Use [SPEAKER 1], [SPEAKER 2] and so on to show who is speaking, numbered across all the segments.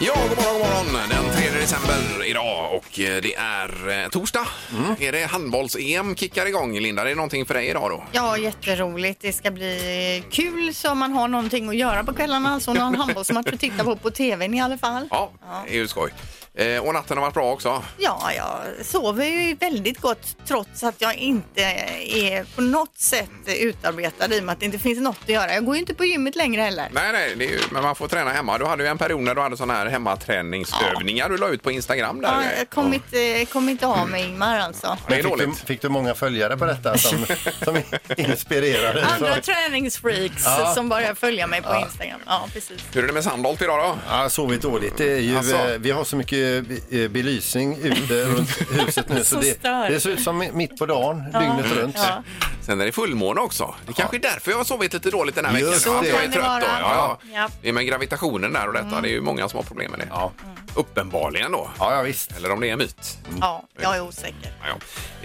[SPEAKER 1] Ja, god morgon, god morgon. Den 3 december idag och eh, det är eh, torsdag.
[SPEAKER 2] Mm.
[SPEAKER 1] Är det handbolls-EM kickar igång? Linda, är det någonting för dig idag då?
[SPEAKER 3] Ja, jätteroligt. Det ska bli kul så man har någonting att göra på kvällarna. Alltså någon handbollsmatch att titta på på tvn i alla fall.
[SPEAKER 1] Ja, det är ju skoj. Eh, och natten har varit bra också.
[SPEAKER 3] Ja, jag sover ju väldigt gott trots att jag inte är på något sätt utarbetad i och med att det inte finns något att göra. Jag går ju inte på gymmet längre heller.
[SPEAKER 1] Nej, nej, det är ju, men man får träna hemma. Du hade ju en period när du hade sådana här hemmaträningsövningar du la ut på Instagram där. Eh,
[SPEAKER 3] Ja, jag kommer inte, kom inte av mig Ingmar alltså.
[SPEAKER 1] Det är
[SPEAKER 2] fick, du,
[SPEAKER 1] dåligt.
[SPEAKER 2] fick du många följare på detta som, som inspirerade?
[SPEAKER 3] Andra träningsfreaks som börjar följa mig på Instagram. Ja, precis.
[SPEAKER 1] Hur är det med Sandholt idag då?
[SPEAKER 2] Ja, sovit dåligt. Det är ju,
[SPEAKER 1] Alltså.
[SPEAKER 2] eh, vi har så mycket eh, belysning ute runt huset nu så
[SPEAKER 3] Som
[SPEAKER 2] det,
[SPEAKER 3] Alltså, stör.
[SPEAKER 2] det ser ut som mitt på dagen, dygnet runt.
[SPEAKER 3] Ja.
[SPEAKER 1] Sen är det fullmåne också. Det kanske är därför jag har sovit lite dåligt den här veckan.
[SPEAKER 2] Just
[SPEAKER 1] va? Att
[SPEAKER 2] det.
[SPEAKER 1] Jag är
[SPEAKER 3] Kan det
[SPEAKER 1] trött då.
[SPEAKER 3] vara.
[SPEAKER 1] Ja, ja.
[SPEAKER 3] Ja. Mm.
[SPEAKER 1] Det är med gravitationen där och detta. Det är ju många som har problem med det. Mm. Uppenbarligen då.
[SPEAKER 2] Ja, ja visst. Mm.
[SPEAKER 1] Eller om det är en myt.
[SPEAKER 3] ja, jag är osäker.
[SPEAKER 1] Ja, ja.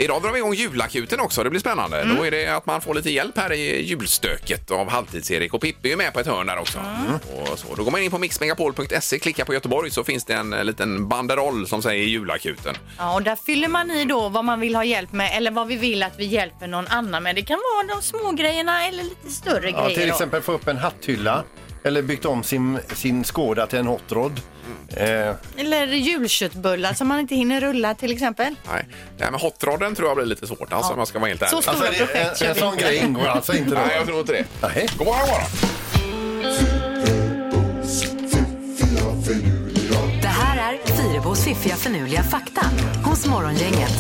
[SPEAKER 1] Idag drar vi igång julakuten också. Det blir spännande.
[SPEAKER 3] Mm.
[SPEAKER 1] Då är det att man får lite hjälp här i julstöket av Halvtids-Erik. Och Pippi är ju med på ett hörn där också.
[SPEAKER 3] Mm.
[SPEAKER 1] Och så. Då går man in på mixmegapol.se, klickar på Göteborg så finns det en eh, liten banderoll som säger julakuten.
[SPEAKER 3] Ja, och där fyller man i då vad man vill ha hjälp med eller vad vi vill att vi hjälper någon annan med. Det kan vara de små grejerna eller lite större
[SPEAKER 2] Ja,
[SPEAKER 3] grejer.
[SPEAKER 2] till
[SPEAKER 3] då.
[SPEAKER 2] exempel få upp en hatthylla eller byggt om sin, sin skåda till en hot rod. Eh,
[SPEAKER 3] Eller julköttbullar som man inte hinner rulla till exempel.
[SPEAKER 1] Nej, det här med hotrodden tror jag blir lite svårt alltså, om jag ska vara helt ärlig.
[SPEAKER 3] Så
[SPEAKER 2] alltså,
[SPEAKER 3] Stora
[SPEAKER 2] det-
[SPEAKER 3] projekt
[SPEAKER 2] en,
[SPEAKER 3] kör
[SPEAKER 2] en
[SPEAKER 3] vi
[SPEAKER 2] sån
[SPEAKER 3] inte.
[SPEAKER 2] grej ingår alltså inte då?
[SPEAKER 1] Nej, jag tror inte det.
[SPEAKER 2] Nej.
[SPEAKER 1] God morgon, god morgon.
[SPEAKER 4] Det här är Fyrabos fiffiga förnuliga fakta hos Morgongänget.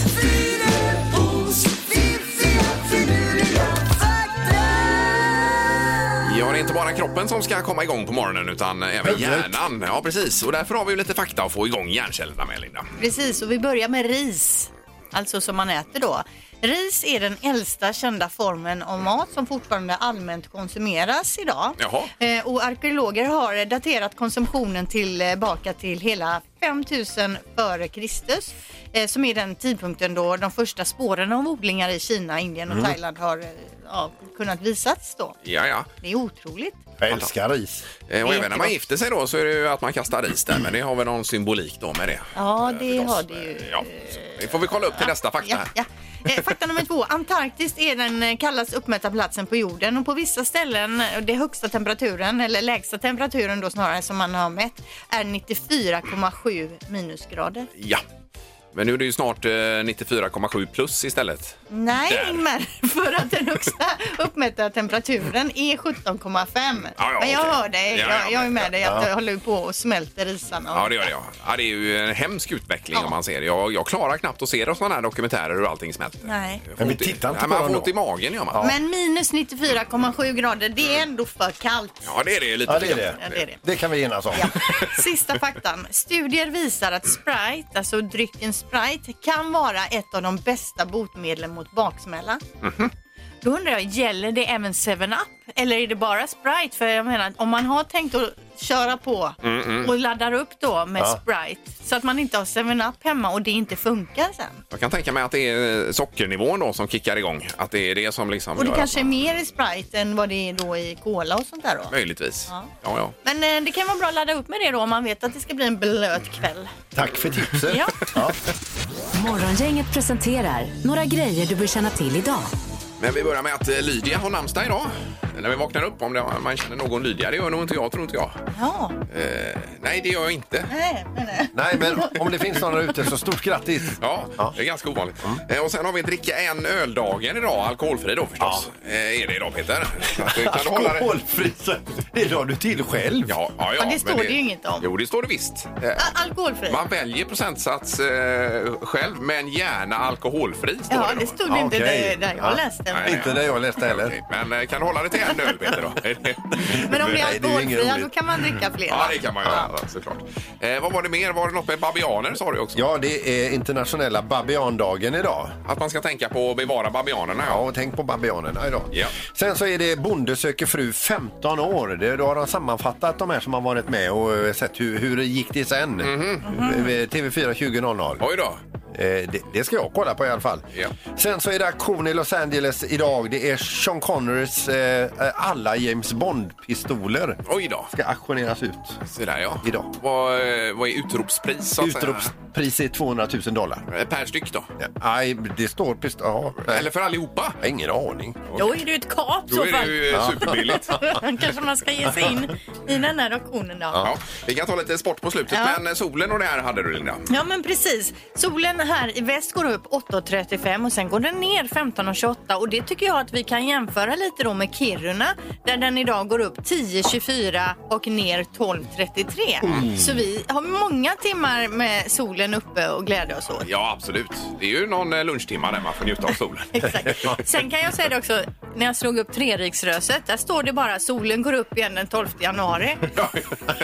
[SPEAKER 1] Ja, det är inte bara kroppen som ska komma igång på morgonen utan även
[SPEAKER 2] Huvudet.
[SPEAKER 1] hjärnan. Ja, precis. Och därför har vi ju lite fakta att få igång hjärncellerna med, Linda.
[SPEAKER 3] Precis, och vi börjar med ris. Alltså som man äter då. Ris är den äldsta kända formen av mat som fortfarande allmänt konsumeras idag.
[SPEAKER 1] Jaha.
[SPEAKER 3] Eh, Och arkeologer har daterat konsumtionen tillbaka till hela 5000 före Kristus eh, som är den tidpunkten då de första spåren av odlingar i Kina, Indien och
[SPEAKER 1] Mm.
[SPEAKER 3] Thailand har eh, ja, kunnat visats då.
[SPEAKER 1] Ja, ja.
[SPEAKER 3] Det är otroligt.
[SPEAKER 2] Jag älskar ris.
[SPEAKER 1] Eh, Och
[SPEAKER 3] Det är
[SPEAKER 1] även när man
[SPEAKER 3] jättegott.
[SPEAKER 1] gifter sig då så är det ju att man kastar ris där, men det har väl någon symbolik då med det.
[SPEAKER 3] Ja,
[SPEAKER 1] Eh,
[SPEAKER 3] det
[SPEAKER 1] förstås.
[SPEAKER 3] har det ju. eh,
[SPEAKER 1] Ja. så Det får vi kolla upp till nästa fakta.
[SPEAKER 3] Ja,
[SPEAKER 1] här.
[SPEAKER 3] ja. Eh, Fakta nummer två. Antarktis är den eh, kallast uppmätta platsen på jorden och på vissa ställen, eh, det högsta temperaturen, eller lägsta temperaturen då snarare som man har mätt, är 94,7 minusgrader.
[SPEAKER 1] Ja. Men nu är det ju snart eh, 94,7 plus istället.
[SPEAKER 3] Nej,
[SPEAKER 1] Där.
[SPEAKER 3] Ingmar, för att den högsta uppmätta temperaturen är 17,5.
[SPEAKER 1] Ja, ja,
[SPEAKER 3] men jag
[SPEAKER 1] okej.
[SPEAKER 3] hör dig,
[SPEAKER 1] Ja, ja,
[SPEAKER 3] jag, jag är
[SPEAKER 1] men-
[SPEAKER 3] med dig att du håller på och smälter isarna.
[SPEAKER 1] Ja, det gör det. Ja. Ja, det är ju en hemsk utveckling
[SPEAKER 3] Ja.
[SPEAKER 1] om man ser det. Jag, jag klarar knappt att se det, sådana här dokumentärer hur allting smälter.
[SPEAKER 3] Nej.
[SPEAKER 1] Jag får
[SPEAKER 2] Men vi
[SPEAKER 1] ont i-
[SPEAKER 2] tittar inte
[SPEAKER 1] Nej,
[SPEAKER 2] på
[SPEAKER 1] Man
[SPEAKER 2] dem
[SPEAKER 1] får
[SPEAKER 2] då.
[SPEAKER 1] ont i magen gör man. Ja,
[SPEAKER 3] Men minus 94,7 grader, det är ändå för kallt.
[SPEAKER 1] det är det ju lite.
[SPEAKER 2] Ja, det är
[SPEAKER 1] för kallt.
[SPEAKER 2] det.
[SPEAKER 3] Ja, det är det.
[SPEAKER 2] Det kan vi enas om.
[SPEAKER 3] Ja. Sista faktan. Studier visar att Sprite, alltså drycken Sprite, kan vara ett av de bästa botemedlen mot baksmälla. Då undrar jag, gäller det även 7-Up eller är det bara Sprite? För jag menar, om man har tänkt att köra på och laddar upp då med Sprite så att man inte har 7-Up hemma och det inte funkar sen.
[SPEAKER 1] Jag kan tänka mig att det är eh, sockernivån då som kickar igång. Att det är det som liksom
[SPEAKER 3] Och det
[SPEAKER 1] gör
[SPEAKER 3] kanske är
[SPEAKER 1] att man...
[SPEAKER 3] mer i Sprite än vad det är då i Cola och sånt där då.
[SPEAKER 1] Möjligtvis. Ja,
[SPEAKER 3] Ja.
[SPEAKER 1] ja.
[SPEAKER 3] Men eh, det kan vara bra att ladda upp med det då om man vet att det ska bli en blöt kväll.
[SPEAKER 2] Tack för tipset.
[SPEAKER 3] Ja.
[SPEAKER 4] Morgongänget presenterar några grejer du bör känna till idag.
[SPEAKER 1] Men vi börjar med att eh, Lydia har namnsdag idag. När vi vaknar upp, om det, man känner någon Lydia, det gör nog inte jag, tror inte jag.
[SPEAKER 3] Ja,
[SPEAKER 1] Eh, nej, det gör jag inte.
[SPEAKER 3] nej, men nej.
[SPEAKER 2] Nej, men om det finns någon där ute så stort grattis. Mm.
[SPEAKER 1] Ja, det är ganska ovanligt. Eh, och sen har vi dricka en öldagen idag, alkoholfri då förstås. Eh, är det idag Peter? Att du kan hålla det.
[SPEAKER 2] Alkoholfri. Det la du till själv.
[SPEAKER 1] Ja, ja, ja,
[SPEAKER 3] Ja, det
[SPEAKER 1] men
[SPEAKER 3] står det ju inget om.
[SPEAKER 1] Jo, det står det visst. Eh,
[SPEAKER 3] A- Alkoholfri?
[SPEAKER 1] Man väljer procentsats eh, själv, men gärna alkoholfri. Står
[SPEAKER 3] Ja,
[SPEAKER 1] då.
[SPEAKER 3] det stod
[SPEAKER 2] Ja,
[SPEAKER 3] inte
[SPEAKER 2] okej.
[SPEAKER 3] där, där jag
[SPEAKER 2] Ja.
[SPEAKER 3] läste.
[SPEAKER 1] Nej,
[SPEAKER 3] Nej.
[SPEAKER 2] Inte det jag läste heller.
[SPEAKER 1] Okej, Men eh, kan du hålla det till en öl Peter då.
[SPEAKER 3] Men om det är
[SPEAKER 2] Nej, det är ju inget
[SPEAKER 3] alkoholfria då
[SPEAKER 2] roligt.
[SPEAKER 3] kan man dricka fler.
[SPEAKER 1] Ja,
[SPEAKER 3] va?
[SPEAKER 1] det kan man göra såklart. Eh, vad var det mer? Var det något med babianer sa du också?
[SPEAKER 2] Ja, det är internationella babiandagen idag.
[SPEAKER 1] Att man ska tänka på att bevara babianerna.
[SPEAKER 2] Ja, och tänk på babianerna idag.
[SPEAKER 1] Ja.
[SPEAKER 2] Sen så är det Bonde söker fru 15 år. Det, då har de sammanfattat de här som har varit med och eh, sett hur, hur det gick det sen. Eh, TV4 2000.
[SPEAKER 1] Mhm. Oj då.
[SPEAKER 2] Eh, det, det ska jag kolla på i alla fall.
[SPEAKER 1] Ja.
[SPEAKER 2] Sen så är det auktion i Los Angeles idag. Det är Sean Connerys eh, eh, alla James Bond-pistoler
[SPEAKER 1] Oj då.
[SPEAKER 2] ska auktioneras ut.
[SPEAKER 1] Så där ja.
[SPEAKER 2] Idag.
[SPEAKER 1] Vad, eh, vad är utropspris? så att säga?
[SPEAKER 2] Utrops- är 200 000 dollar.
[SPEAKER 1] Eh, Per styck då?
[SPEAKER 2] Nej, det står pistol... Ja, nej.
[SPEAKER 1] Eller för allihopa?
[SPEAKER 2] Jag har ingen aning.
[SPEAKER 3] Då är det ju ett kap i
[SPEAKER 1] Då
[SPEAKER 3] så
[SPEAKER 1] är det
[SPEAKER 3] fall.
[SPEAKER 1] ju eh, superbilligt.
[SPEAKER 3] Kanske man ska ge sig in i den här auktionen då.
[SPEAKER 1] Ja, vi kan ta lite sport på slutet,
[SPEAKER 3] Ja.
[SPEAKER 1] men eh, solen och det här hade du Linda.
[SPEAKER 3] Ja, men precis. Solen här i väst går upp 8.35 och sen går den ner 15.28 och det tycker jag att vi kan jämföra lite då med Kiruna där den idag går upp 10.24 och ner 12.33.
[SPEAKER 1] Mm.
[SPEAKER 3] Så vi har många timmar med solen uppe och glädja oss åt.
[SPEAKER 1] Ja, absolut. Det är ju någon eh, lunchtimma där man får njuta av solen.
[SPEAKER 3] Exakt. Sen kan jag säga det också, när jag slog upp Treriksröset, där står det bara solen går upp igen den 12 januari.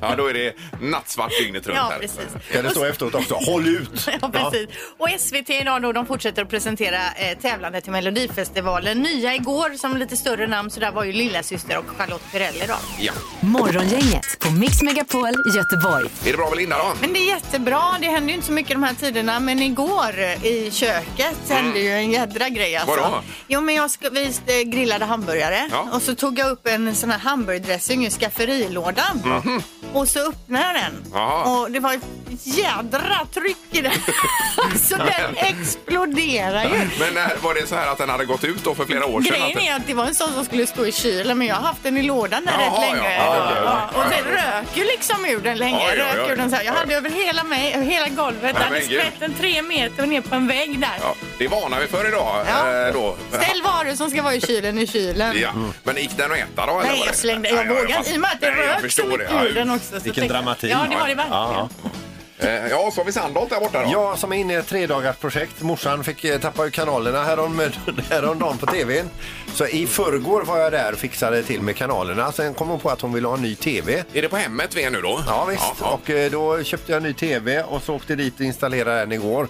[SPEAKER 1] ja, då är det nattsvart dygnet runt
[SPEAKER 3] Ja,
[SPEAKER 1] här.
[SPEAKER 3] precis.
[SPEAKER 2] Ska det stå efteråt också? Håll ut!
[SPEAKER 3] Ja, precis. Och SVT idag då, de fortsätter att presentera eh, tävlande till Melodifestivalen. Nya igår som lite större namn, så där var ju lillasyster och Charlotte Perrelli då.
[SPEAKER 1] Ja.
[SPEAKER 4] Morgongänget på Mix Megapol Göteborg.
[SPEAKER 1] Är det bra med Linda då?
[SPEAKER 3] Men det är jättebra, det händer ju inte så mycket de här tiderna, men igår eh, i köket hände ju en jädra grej alltså.
[SPEAKER 1] Mm. Vadå?
[SPEAKER 3] Jo men jag sk- vi eh, grillade hamburgare
[SPEAKER 1] Ja.
[SPEAKER 3] och så tog jag upp en sån här hamburgardressing ur skafferilådan.
[SPEAKER 1] Mm-hmm.
[SPEAKER 3] Och så öppnade jag den
[SPEAKER 1] Jaha.
[SPEAKER 3] och det var ett jädra tryck i den. så den exploderade ju.
[SPEAKER 1] Men eh, var det så här att den hade gått ut då för flera år sedan?
[SPEAKER 3] Grejen är att det var en sån som skulle stå i kylen men jag har haft den i lådan där
[SPEAKER 1] Jaha,
[SPEAKER 3] rätt
[SPEAKER 1] ja.
[SPEAKER 3] länge.
[SPEAKER 1] Ja, okej,
[SPEAKER 3] Ja,
[SPEAKER 1] okej.
[SPEAKER 3] Och den rök ju liksom ur den länge.
[SPEAKER 1] Oj, oj, oj.
[SPEAKER 3] Rök ur den så här. Jag hade över hela mig, över hela golvet. Jag
[SPEAKER 1] Nej,
[SPEAKER 3] hade
[SPEAKER 1] men gud.
[SPEAKER 3] sprätt den tre meter ner på en vägg där.
[SPEAKER 1] Ja, det varnar vi för idag.
[SPEAKER 3] Ja.
[SPEAKER 1] eh, Då.
[SPEAKER 3] Ställ varor som ska vara i kylen i kylen.
[SPEAKER 1] Ja. Men gick den att äta då? eller
[SPEAKER 3] Nej,
[SPEAKER 1] var
[SPEAKER 3] jag
[SPEAKER 1] det-
[SPEAKER 3] slängde, jag
[SPEAKER 1] Nej,
[SPEAKER 3] vågade
[SPEAKER 1] fast-
[SPEAKER 3] i och med att det
[SPEAKER 1] Nej, jag
[SPEAKER 3] rök så
[SPEAKER 1] förstår det.
[SPEAKER 3] mycket
[SPEAKER 1] Ja,
[SPEAKER 3] ur den också. så
[SPEAKER 2] Vilken
[SPEAKER 3] tänkte-
[SPEAKER 2] dramatik.
[SPEAKER 3] Ja, det var det verkligen.
[SPEAKER 2] Ja.
[SPEAKER 1] Eh, Ja, så har vi Sandholt där borta då.
[SPEAKER 2] Jag som är inne i ett tredagarsprojekt. Morsan fick eh, tappa ur kanalerna härom, häromdagen på tvn. Så i förrgår var jag där och fixade till med kanalerna. Sen kom hon på att hon ville ha en ny tv.
[SPEAKER 1] Är det på hemmet vi är nu då?
[SPEAKER 2] Ja visst.
[SPEAKER 1] ja.
[SPEAKER 2] Och eh, då köpte jag en ny tv och så åkte dit och installerade den igår.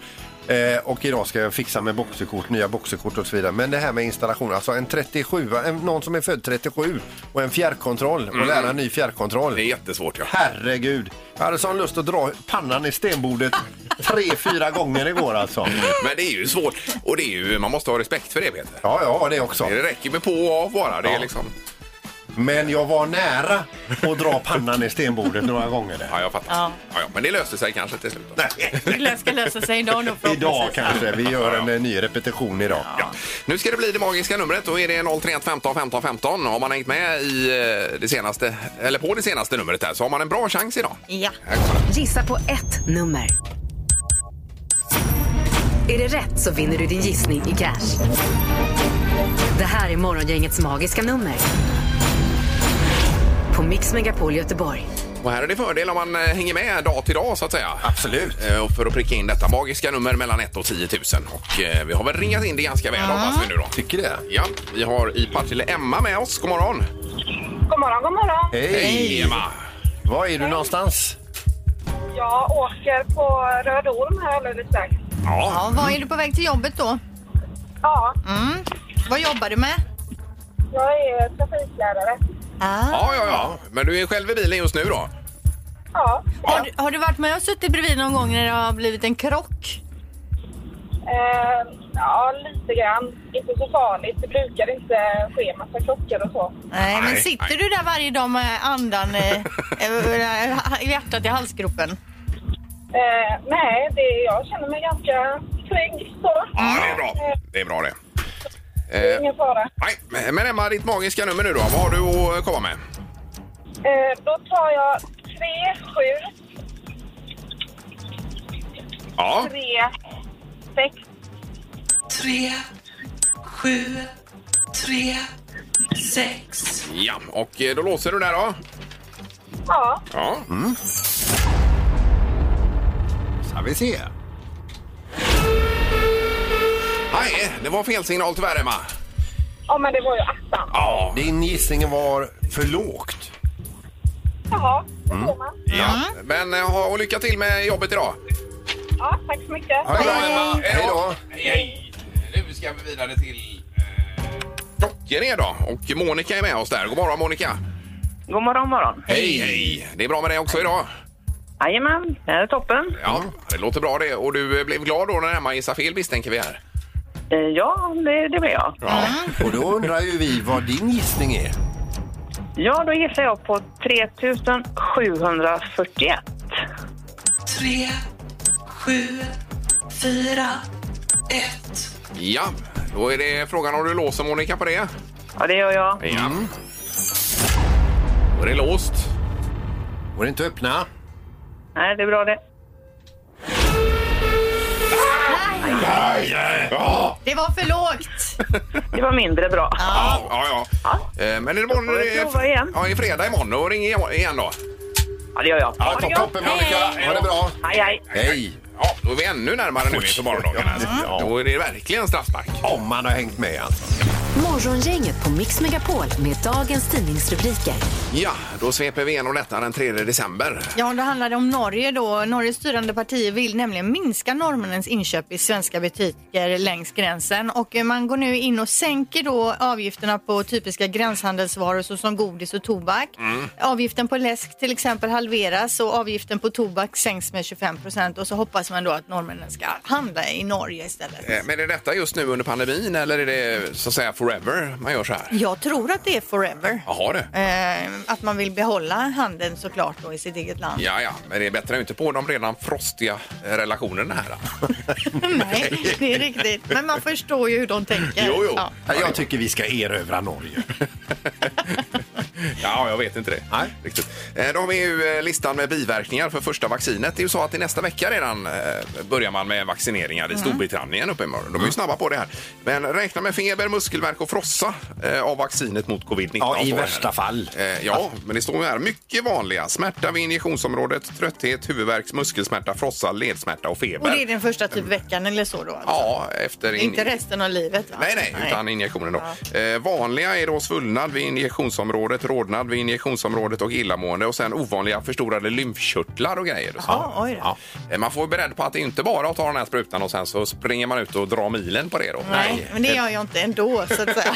[SPEAKER 2] Eh, och idag ska jag fixa med boxerkort, nya boxerkort och så vidare. Men det här med installation, alltså en 37, en, någon som är född 37 och en fjärrkontroll och lära en ny fjärrkontroll.
[SPEAKER 1] Mm. Det är jättesvårt ja.
[SPEAKER 2] Herregud! Jag hade sån lust att dra pannan i stenbordet tre, fyra gånger igår alltså.
[SPEAKER 1] Men det är ju svårt. Och det är ju, man måste ha respekt för det Peter.
[SPEAKER 2] Ja, jag har det också.
[SPEAKER 1] Det räcker med på och av bara. Det är
[SPEAKER 2] Ja.
[SPEAKER 1] liksom...
[SPEAKER 2] Men jag var nära att dra pannan i stenbordet några gånger. Där.
[SPEAKER 1] Ja, jag fattar. Ja.
[SPEAKER 3] Ja.
[SPEAKER 1] Ja, men det löste sig kanske till slut. Då.
[SPEAKER 3] Det ska lösa sig idag då
[SPEAKER 2] Idag
[SPEAKER 3] förhoppningsvis.
[SPEAKER 2] kanske. Vi gör en eh, ny repetition idag.
[SPEAKER 1] Ja. Nu ska det bli det magiska numret. Då är det 031 15 15 15. Har man hängt med i eh, det senaste, eller på det senaste numret här, så har man en bra chans idag.
[SPEAKER 3] Ja.
[SPEAKER 4] Gissa på ett nummer. Är det rätt så vinner du din gissning i cash. Det här är Morgongängets magiska nummer. På Mix Megapol Göteborg.
[SPEAKER 1] Och här är det fördel om man eh, hänger med dag till dag så att säga.
[SPEAKER 2] Absolut.
[SPEAKER 1] Eh, Och för att pricka in detta magiska nummer mellan 1 och 10 000. Och eh, vi har väl ringat in det ganska väl hoppas vi nu då.
[SPEAKER 2] Tycker det?
[SPEAKER 1] Ja, vi har i Partille Emma med oss. God morgon!
[SPEAKER 5] God morgon, god morgon.
[SPEAKER 2] Hej!
[SPEAKER 1] Emma!
[SPEAKER 2] Var är du någonstans?
[SPEAKER 5] Jag åker på Röd Orm här alldeles strax.
[SPEAKER 1] Ja,
[SPEAKER 3] ja, vad är du på väg till jobbet då? Mm.
[SPEAKER 5] Ja,
[SPEAKER 3] Vad jobbar du med?
[SPEAKER 5] jag är trafiklärare.
[SPEAKER 3] Ah.
[SPEAKER 1] ja, ja, ja. Men du är själv i bilen just nu då?
[SPEAKER 5] Ja,
[SPEAKER 3] Har, du, har du varit med och suttit bredvid någon gång när det har blivit en krock?
[SPEAKER 5] eh, ja, lite grann. Inte så farligt. Det brukar inte ske massa krockar och så.
[SPEAKER 3] Nej, men
[SPEAKER 1] Nej,
[SPEAKER 3] sitter
[SPEAKER 1] nej.
[SPEAKER 3] du där varje dag med andan i, i hjärtat i halsgropen?
[SPEAKER 5] Eh, nej, det, jag känner mig ganska trygg så.
[SPEAKER 1] Ja, det är bra. Det är bra det.
[SPEAKER 5] Det
[SPEAKER 1] Eh,
[SPEAKER 5] är ingen fara.
[SPEAKER 1] nej, men Emma, ditt magiska nummer nu då. Vad har du att komma med?
[SPEAKER 5] Eh, då tar jag 3, 7,
[SPEAKER 1] Ja,
[SPEAKER 5] 3, 6.
[SPEAKER 6] tre, sju, tre, sex.
[SPEAKER 1] ja. och eh, då låser du där då. Mm.
[SPEAKER 5] Ja,
[SPEAKER 1] Ja.
[SPEAKER 2] Ska vi se.
[SPEAKER 1] Nej, det var fel signal tyvärr Emma.
[SPEAKER 5] Ja, men det var ju attan.
[SPEAKER 1] Ja,
[SPEAKER 2] Din gissning var för lågt.
[SPEAKER 5] Jaha, det får man.
[SPEAKER 1] ja. Men eh, ha- och lycka till med jobbet idag.
[SPEAKER 5] Ja, tack så mycket.
[SPEAKER 2] Ha det bra,
[SPEAKER 1] Hej.
[SPEAKER 2] Emma. Hej då.
[SPEAKER 1] Hej, hej. Nu ska vi vidare till eh, Dockered då. Och Monica är med oss där. God morgon Monica.
[SPEAKER 7] God morgon, morgon.
[SPEAKER 1] Hej, hej. Det är bra med dig också idag.
[SPEAKER 7] Jajamän, det här är toppen.
[SPEAKER 1] Ja, det låter bra det. Och du eh, blev glad då när Emma gissade fel misstänker vi här.
[SPEAKER 7] Eh, Ja, det, det blev jag.
[SPEAKER 1] Ja.
[SPEAKER 2] Och då undrar ju vi vad din gissning är.
[SPEAKER 7] Ja, då gissar jag på 3741.
[SPEAKER 6] tre, sju, fyra, ett.
[SPEAKER 1] ja, då är det frågan om du låser Monica på det.
[SPEAKER 7] Ja, det gör jag.
[SPEAKER 1] Ja.
[SPEAKER 2] Mm.
[SPEAKER 1] Då är det låst.
[SPEAKER 2] Går det inte att öppna?
[SPEAKER 7] Nej, det är bra det.
[SPEAKER 1] Ja,
[SPEAKER 3] Det var för lågt.
[SPEAKER 7] Det var mindre bra.
[SPEAKER 1] ja, ja. Eh, Men är det imorgon?
[SPEAKER 7] Då får vi
[SPEAKER 1] eh,
[SPEAKER 7] prova igen.
[SPEAKER 1] Ja, i fredag imorgon. Då ringer igen då.
[SPEAKER 7] Ja, det gör jag.
[SPEAKER 2] Ja,
[SPEAKER 7] Ha det
[SPEAKER 2] to-
[SPEAKER 7] gott.
[SPEAKER 2] toppen Monica. Ha det bra.
[SPEAKER 7] Hej, hej.
[SPEAKER 2] Hej.
[SPEAKER 1] Ja, då är vi ännu närmare nu inför morgondagen. Alltså.
[SPEAKER 2] Ja.
[SPEAKER 1] Då är det verkligen straffspark.
[SPEAKER 2] Om man har hängt med alltså.
[SPEAKER 4] Morgongänget på Mix Megapol med dagens tidningsrubriker.
[SPEAKER 1] Ja, då sveper vi igenom detta den 3 december.
[SPEAKER 3] Ja, då handlar det om Norge då. Norges styrande parti vill nämligen minska norrmännens inköp i svenska butiker längs gränsen och eh, man går nu in och sänker då avgifterna på typiska gränshandelsvaror såsom godis och tobak.
[SPEAKER 5] Mm.
[SPEAKER 3] Avgiften på läsk till exempel halveras och avgiften på tobak sänks med 25 procent och så hoppas man då att norrmännen ska handla i Norge istället.
[SPEAKER 1] Eh, Men är detta just nu under pandemin eller är det så att säga forever man gör så här?
[SPEAKER 3] Jag tror att det är forever.
[SPEAKER 1] Jaha du.
[SPEAKER 3] Eh, att man vill behålla handeln såklart då i sitt eget land.
[SPEAKER 1] Ja, ja, men det bättrar ju inte på de redan frostiga eh, relationerna här.
[SPEAKER 3] Nej, det är riktigt. Men man förstår ju hur de tänker.
[SPEAKER 1] Jo, jo.
[SPEAKER 3] Ja.
[SPEAKER 2] Nej, Jag tycker vi ska erövra Norge.
[SPEAKER 1] ja, jag vet inte det.
[SPEAKER 2] Nej.
[SPEAKER 1] riktigt. Eh, Då har vi ju eh, listan med biverkningar för första vaccinet. Det är ju så att i nästa vecka redan eh, börjar man med vaccineringar i Storbritannien uppenbarligen. De är ju snabba på det här. Men räkna med feber, muskelvärk och frossa eh, av vaccinet mot covid-19.
[SPEAKER 2] Ja, i
[SPEAKER 1] Så är det.
[SPEAKER 2] värsta fall.
[SPEAKER 1] Eh, Ja, men det står ju här mycket vanliga. Smärta vid injektionsområdet, trötthet, huvudvärk, muskelsmärta, frossa, ledsmärta och feber.
[SPEAKER 3] Och det är den första typ veckan eller så då? Alltså.
[SPEAKER 1] Ja, efter... in-
[SPEAKER 3] Inte resten av livet va?
[SPEAKER 1] Nej, nej, utan injektionen då. Eh, vanliga är då svullnad vid injektionsområdet, rodnad vid injektionsområdet och illamående och sen ovanliga förstorade lymfkörtlar och grejer. Och så.
[SPEAKER 3] Ja, oj då.
[SPEAKER 1] Ja. Eh, Man får vara beredd på att det inte bara är att ta den här sprutan och sen så springer man ut och drar milen på det då.
[SPEAKER 3] Nej, men det gör jag inte ändå så att säga.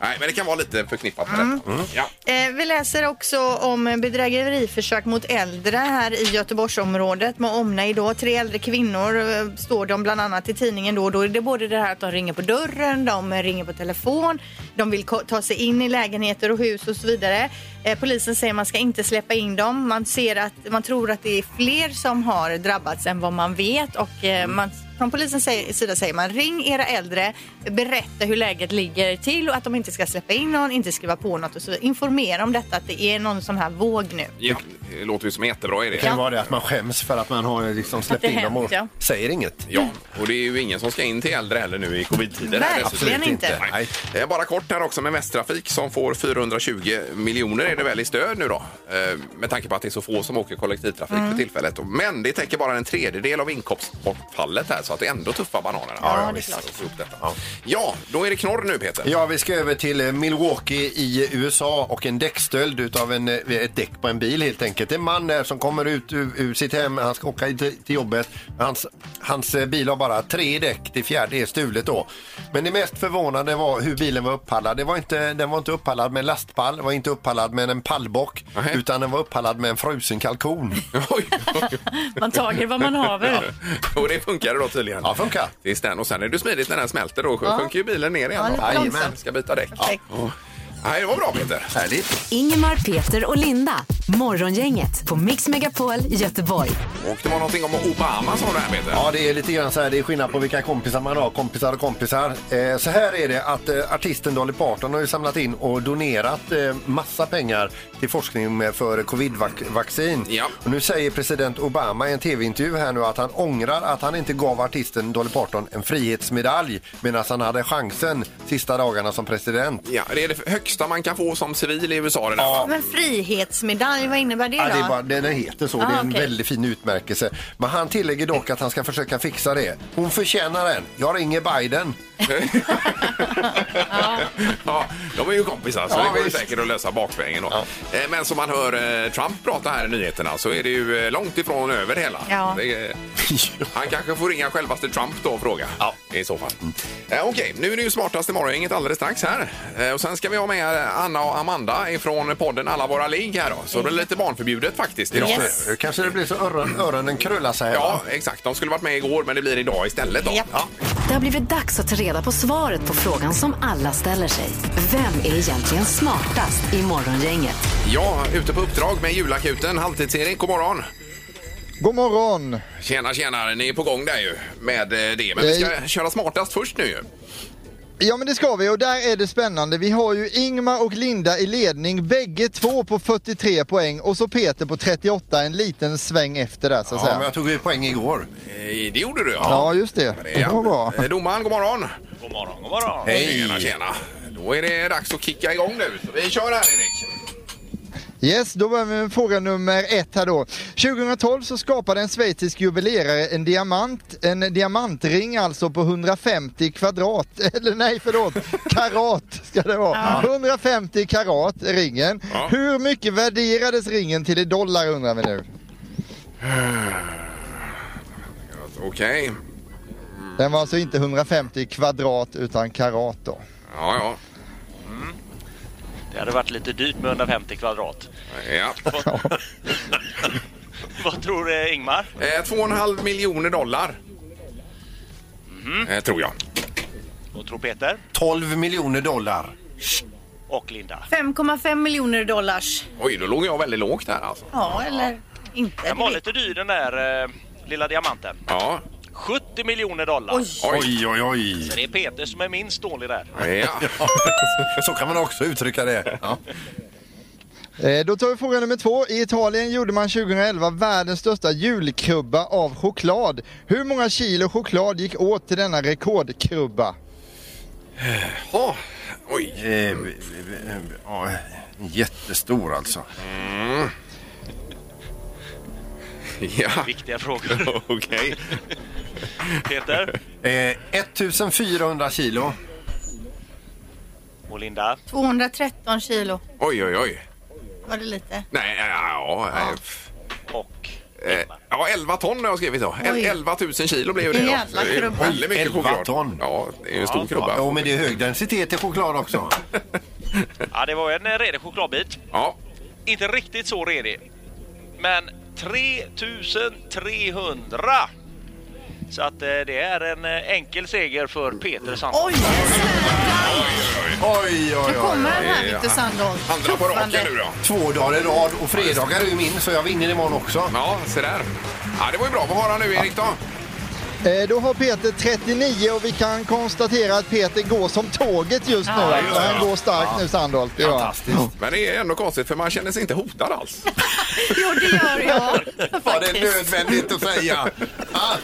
[SPEAKER 1] Nej, men det kan vara lite förknippat med detta. Mm. Ja.
[SPEAKER 3] Eh, vi läser också om bedrägeriförsök mot äldre här i Göteborgsområdet med omnejd då. Tre äldre kvinnor eh, står de bland annat i tidningen då. Då är det både det här att de ringer på dörren, de eh, ringer på telefon, de vill ko- ta sig in i lägenheter och hus och så vidare. Eh, polisen säger man ska inte släppa in dem. Man ser att man tror att det är fler som har drabbats än vad man vet och eh, man från polisens sä- sida säger man ring era äldre, berätta hur läget ligger till och att de inte ska släppa in någon, inte skriva på något och så vidare. Informera om detta att det är någon sån här våg nu.
[SPEAKER 1] ja, det låter ju som en jättebra idé.
[SPEAKER 2] Det kan ju vara det att man skäms för att man har liksom släppt
[SPEAKER 3] det
[SPEAKER 2] in dem
[SPEAKER 3] hänt,
[SPEAKER 2] och
[SPEAKER 3] ja.
[SPEAKER 2] säger inget.
[SPEAKER 1] Ja, och det är ju ingen som ska in till äldre heller nu i covid-tider. här
[SPEAKER 3] Verkligen
[SPEAKER 1] dessutom.
[SPEAKER 3] inte.
[SPEAKER 1] Nej. Eh, Bara kort här också med Västtrafik som får 420 miljoner är det väl i stöd nu då? Eh, Med tanke på att det är så få som åker kollektivtrafik
[SPEAKER 3] Mm.
[SPEAKER 1] för tillfället. Men det täcker bara en tredjedel av inkomstbortfallet här så att det är ändå tuffa bananerna.
[SPEAKER 3] Ja, det är klart.
[SPEAKER 1] Att få upp detta. Ja. då är det knorr nu Peter.
[SPEAKER 2] Ja, vi ska över till eh, Milwaukee i eh, USA och en däckstöld utav en, eh, ett däck på en bil helt enkelt. En man där som kommer ut ur, ur sitt hem, han ska åka till, till jobbet. Hans, hans eh, bil har bara tre däck, det fjärde är stulet då. Men det mest förvånande var hur bilen var uppallad. Det var inte, den var inte uppallad med en lastpall, var inte uppallad med en pallbock,
[SPEAKER 1] Nej.
[SPEAKER 2] utan den var uppallad med en frusen kalkon.
[SPEAKER 1] Oj, oj,
[SPEAKER 3] Man tager vad man haver.
[SPEAKER 1] och det funkar då tydligen.
[SPEAKER 2] Ja, funkar.
[SPEAKER 1] Tills den. Och sen är det smidigt när den smälter då. Sjunker ju bilen ner igen.
[SPEAKER 3] Ja,
[SPEAKER 1] då.
[SPEAKER 3] lite
[SPEAKER 1] Jajamän.
[SPEAKER 3] långsamt.
[SPEAKER 1] Ska byta däck.
[SPEAKER 3] Perfekt.
[SPEAKER 1] Ja. Nej, det var bra Peter.
[SPEAKER 2] Härligt.
[SPEAKER 4] Ingemar, Peter och Linda. Morgongänget på Mix Megapol Göteborg.
[SPEAKER 1] Och det var någonting om Obama som du här Peter.
[SPEAKER 2] Ja, det är lite grann så här. Det är skillnad på vilka kompisar man har. Kompisar och kompisar. Eh, så här är det att eh, artisten Dolly Parton har ju samlat in och donerat eh, massa pengar till forskning med, för covid-vaccin.
[SPEAKER 1] Ja.
[SPEAKER 2] Och nu säger president Obama i en tv-intervju här nu att han ångrar att han inte gav artisten Dolly Parton en frihetsmedalj medan han hade chansen sista dagarna som president.
[SPEAKER 1] Ja, det är det högsta man kan få som civil i USA. Det där.
[SPEAKER 2] Ja.
[SPEAKER 3] Men frihetsmedalj, vad innebär det då? Ah,
[SPEAKER 2] Ja, det är bara, den heter så. det är en
[SPEAKER 3] okej.
[SPEAKER 2] väldigt fin utmärkelse. Men han tillägger dock att han ska försöka fixa det. Hon förtjänar den. Jag ringer Biden.
[SPEAKER 1] Ja, de är ju kompisar så
[SPEAKER 2] Ja,
[SPEAKER 1] det går ju
[SPEAKER 2] visst.
[SPEAKER 1] säkert att lösa bakvägen. Då. Eh, Men som man hör eh, Trump prata här i nyheterna så är det ju eh, långt ifrån över hela.
[SPEAKER 3] Ja.
[SPEAKER 1] Det, eh, han kanske får ringa självaste Trump då och fråga. Ja. I så fall. Eh, Okej, nu är det ju smartast i morgongänget alldeles strax här. Eh, och sen ska vi ha med Anna och Amanda ifrån podden Alla våra ligg här då. Så det är lite barnförbjudet faktiskt idag.
[SPEAKER 3] Yes.
[SPEAKER 2] Nu Kanske det blir så öron, öronen krullar sig. här, va?
[SPEAKER 1] Ja, exakt. De skulle varit med igår men det blir idag istället då.
[SPEAKER 3] Japp.
[SPEAKER 1] Ja.
[SPEAKER 4] Det har blivit dags att ta reda på svaret på frågan som alla ställer sig. Vem är egentligen smartast i Morgongänget?
[SPEAKER 1] ja, ute på uppdrag med julakuten, halvtids-Erik. God morgon!
[SPEAKER 8] God morgon!
[SPEAKER 1] Tjena, tjena. Ni är på gång där ju med eh, det. Men vi ska köra smartast först nu ju.
[SPEAKER 8] Ja men det ska vi och där är det spännande. Vi har ju Ingmar och Linda i ledning, bägge två på 43 poäng och så Peter på 38, en liten sväng efter där så att
[SPEAKER 2] Ja,
[SPEAKER 8] säga.
[SPEAKER 2] men jag tog ju poäng igår.
[SPEAKER 1] Eh, Det gjorde du,
[SPEAKER 8] Ja just det.
[SPEAKER 1] Men
[SPEAKER 8] Det var bra.
[SPEAKER 1] Eh, Domaren, god morgon!
[SPEAKER 6] God morgon, god morgon.
[SPEAKER 2] Hej.
[SPEAKER 1] Tjena, tjena. Då är det dags att kicka igång nu. Så vi kör här, Erik.
[SPEAKER 8] Yes, då börjar vi med fråga nummer ett här då. 2012 så skapade en schweizisk jubilerare en diamant, en diamantring alltså på 150 kvadrat, eller nej förlåt, karat ska det vara. 150 karat är ringen.
[SPEAKER 1] Ja.
[SPEAKER 8] Hur mycket värderades ringen till i dollar undrar vi nu?
[SPEAKER 1] Okej. Mm.
[SPEAKER 8] Den var alltså inte 150 kvadrat utan karat då.
[SPEAKER 1] Ja,
[SPEAKER 6] Mm. Det hade varit lite dyrt med 150 kvadrat.
[SPEAKER 1] ja. ja.
[SPEAKER 6] Vad tror du Ingmar?
[SPEAKER 1] Eh, Två och en halv miljoner dollar.
[SPEAKER 6] Mm.
[SPEAKER 1] Eh, tror jag.
[SPEAKER 6] Vad tror Peter?
[SPEAKER 2] 12 miljoner dollar.
[SPEAKER 6] Och Linda?
[SPEAKER 3] 5,5 miljoner dollars.
[SPEAKER 1] Oj, då låg jag väldigt lågt där alltså.
[SPEAKER 3] Ja, eller inte.
[SPEAKER 6] Den var lite dyr den där eh, lilla diamanten.
[SPEAKER 1] Ja.
[SPEAKER 6] 70 miljoner dollar.
[SPEAKER 3] Oj.
[SPEAKER 2] Oj, oj, oj.
[SPEAKER 6] Det är Peter som är minst dålig där.
[SPEAKER 1] Ja.
[SPEAKER 2] Så kan man också uttrycka det. Ja.
[SPEAKER 8] Eh, Då tar vi fråga nummer två. I Italien gjorde man 2011 världens största julkrubba av choklad. Hur många kilo choklad gick åt till denna rekordkrubba?
[SPEAKER 1] Jaha. Eh, Oj.
[SPEAKER 2] Eh, b- b- eh, ja, jättestor alltså.
[SPEAKER 1] Mm. Ja.
[SPEAKER 6] Viktiga frågor.
[SPEAKER 1] Okej.
[SPEAKER 6] Peter
[SPEAKER 2] Eh, 1400 kilo.
[SPEAKER 6] och Linda.
[SPEAKER 3] 213 kilo.
[SPEAKER 1] Oj, oj, oj.
[SPEAKER 3] Var det lite?
[SPEAKER 1] Nej, ja, ja, ja. f-
[SPEAKER 6] Och
[SPEAKER 1] Eh, ja, 11 ton har jag skrivit då. El-
[SPEAKER 3] Oj.
[SPEAKER 1] 11 000 kilo blev det. ja.
[SPEAKER 3] Jävla
[SPEAKER 1] Så det är ju
[SPEAKER 3] krubba.
[SPEAKER 1] Väldigt mycket
[SPEAKER 2] 11
[SPEAKER 1] choklad.
[SPEAKER 2] ton.
[SPEAKER 1] Ja, det är ju en stor krubba.
[SPEAKER 2] Ja, men det är hög densitet i choklad också.
[SPEAKER 6] ja, det var en eh, redig chokladbit.
[SPEAKER 1] Ja,
[SPEAKER 6] Inte riktigt så redig. Men 3300! Så att eh, det är en eh, enkel seger för Peter Sandholm.
[SPEAKER 3] Oj!
[SPEAKER 2] Oj, oj,
[SPEAKER 3] Nu
[SPEAKER 2] oj.
[SPEAKER 3] kommer den här,
[SPEAKER 1] ja.
[SPEAKER 3] Victor Sandholt.
[SPEAKER 1] andra på raken
[SPEAKER 3] Tuffande.
[SPEAKER 1] nu då.
[SPEAKER 2] Två dagar i rad och fredagar är ju min så jag vinner imorgon också.
[SPEAKER 1] Ja, se där. Ja, det var ju bra. Vad har han nu, Erik? då?
[SPEAKER 8] Eh, Då har Peter 39 och vi kan konstatera att Peter går som tåget just nu.
[SPEAKER 3] Ja,
[SPEAKER 8] alltså. Han går starkt nu Sandholt. det gör han.
[SPEAKER 2] Fantastiskt.
[SPEAKER 1] Men det är ändå konstigt, för man känner sig inte hotad alls.
[SPEAKER 3] Jo, det gör jag.
[SPEAKER 2] Var det
[SPEAKER 3] faktiskt.
[SPEAKER 2] nödvändigt att säga? Ah,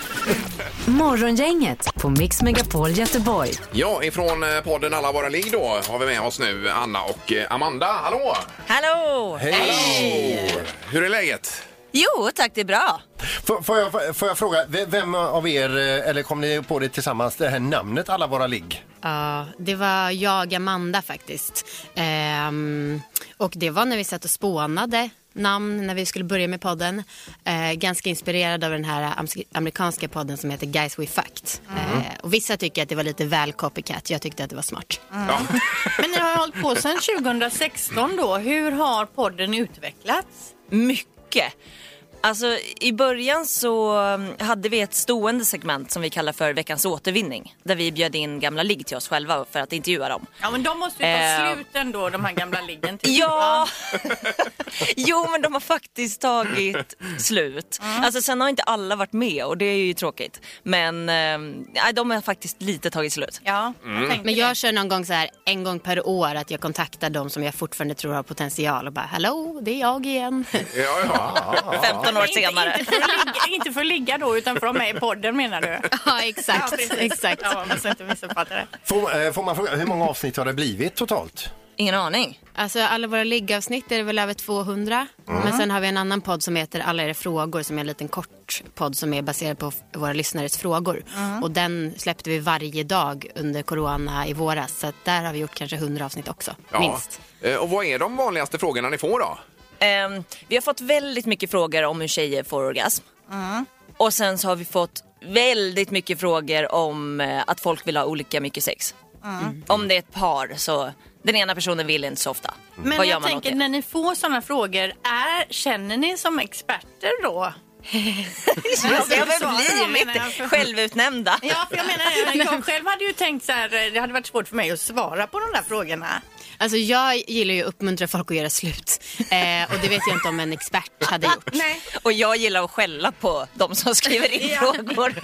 [SPEAKER 4] Morgongänget på Mix Megapol Göteborg.
[SPEAKER 1] Ja, ifrån eh, podden Alla våra ligg då har vi med oss nu Anna och eh, Amanda. Hallå!
[SPEAKER 9] Hallå!
[SPEAKER 1] Hej! Hur är läget?
[SPEAKER 9] Jo tack, det är bra.
[SPEAKER 2] får, får, jag, får jag fråga, v- vem av er, eh, eller kom ni på det tillsammans, det här namnet Alla våra ligg?
[SPEAKER 9] Ja, det var jag, Amanda faktiskt. Ehm, och det var när vi satt och spånade namn när vi skulle börja med podden. Eh, ganska inspirerad av den här amsk- amerikanska podden som heter Guys We Fucked. Eh, och vissa tycker att det var lite väl copycat, jag tyckte att det var smart.
[SPEAKER 1] Ja.
[SPEAKER 3] Men ni har ju hållit på sedan 2016 då. Hur har podden utvecklats?
[SPEAKER 9] Mycket. Alltså i början så mm, hade vi ett stående segment som vi kallar för veckans återvinning. Där vi bjöd in gamla ligg till oss själva för att intervjua dem.
[SPEAKER 3] Ja, men de måste ju ta
[SPEAKER 9] Eh.
[SPEAKER 3] slut ändå, de här gamla liggen. typ. tycker
[SPEAKER 9] Ja!
[SPEAKER 3] jag.
[SPEAKER 9] jo, men de har faktiskt tagit slut.
[SPEAKER 1] Mm.
[SPEAKER 9] Alltså, sen har inte alla varit med och det är ju tråkigt. Men eh, nej, de har faktiskt lite tagit slut.
[SPEAKER 3] Ja,
[SPEAKER 1] Mm.
[SPEAKER 3] jag tänkte
[SPEAKER 9] Men
[SPEAKER 3] det.
[SPEAKER 9] jag kör någon gång så här en gång per år att jag kontaktar de som jag fortfarande tror har potential och bara hallå, det är jag igen.
[SPEAKER 1] Ja, ja.
[SPEAKER 9] 15 år senare.
[SPEAKER 3] Inte, inte, för att ligga, inte för att ligga då, utan för att vara med i podden menar du?
[SPEAKER 9] ja, exakt.
[SPEAKER 3] precis.
[SPEAKER 9] exakt.
[SPEAKER 3] Ja, man måste inte missuppfatta det.
[SPEAKER 2] Får, eh, får man fråga, hur många avsnitt har det blivit totalt?
[SPEAKER 3] Ingen aning.
[SPEAKER 9] Alltså alla våra liggavsnitt är det väl över 200.
[SPEAKER 3] Mm.
[SPEAKER 9] Men sen har vi en annan podd som heter Alla era frågor som är en liten kort podd som är baserad på f- våra lyssnares frågor.
[SPEAKER 3] Mm.
[SPEAKER 9] Och den släppte vi varje dag under corona i våras. Så att där har vi gjort kanske 100 avsnitt också,
[SPEAKER 1] Ja.
[SPEAKER 9] minst.
[SPEAKER 1] Eh, Och vad är de vanligaste frågorna ni får då?
[SPEAKER 10] Ehm, vi har fått väldigt mycket frågor om hur tjejer får orgasm.
[SPEAKER 3] Mm,
[SPEAKER 10] Och sen så har vi fått väldigt mycket frågor om eh, att folk vill ha olika mycket sex.
[SPEAKER 3] Mm.
[SPEAKER 10] Om det är ett par så, den ena personen vill inte så ofta.
[SPEAKER 3] Men
[SPEAKER 10] Vad gör
[SPEAKER 3] jag
[SPEAKER 10] man åt
[SPEAKER 3] tänker
[SPEAKER 10] det?
[SPEAKER 3] när ni får sådana frågor, är, känner ni som experter då?
[SPEAKER 10] Ja, vi har väl
[SPEAKER 3] Svara,
[SPEAKER 10] blivit
[SPEAKER 3] menar jag, för-
[SPEAKER 10] självutnämnda.
[SPEAKER 3] Ja, för jag menar det. Jag själv hade ju tänkt så här, eh, det hade varit svårt för mig att svara på de där frågorna.
[SPEAKER 9] Alltså jag gillar ju att uppmuntra folk att göra slut. Eh, och det vet jag inte om en expert hade gjort.
[SPEAKER 10] Och jag gillar att skälla på de som skriver in frågor.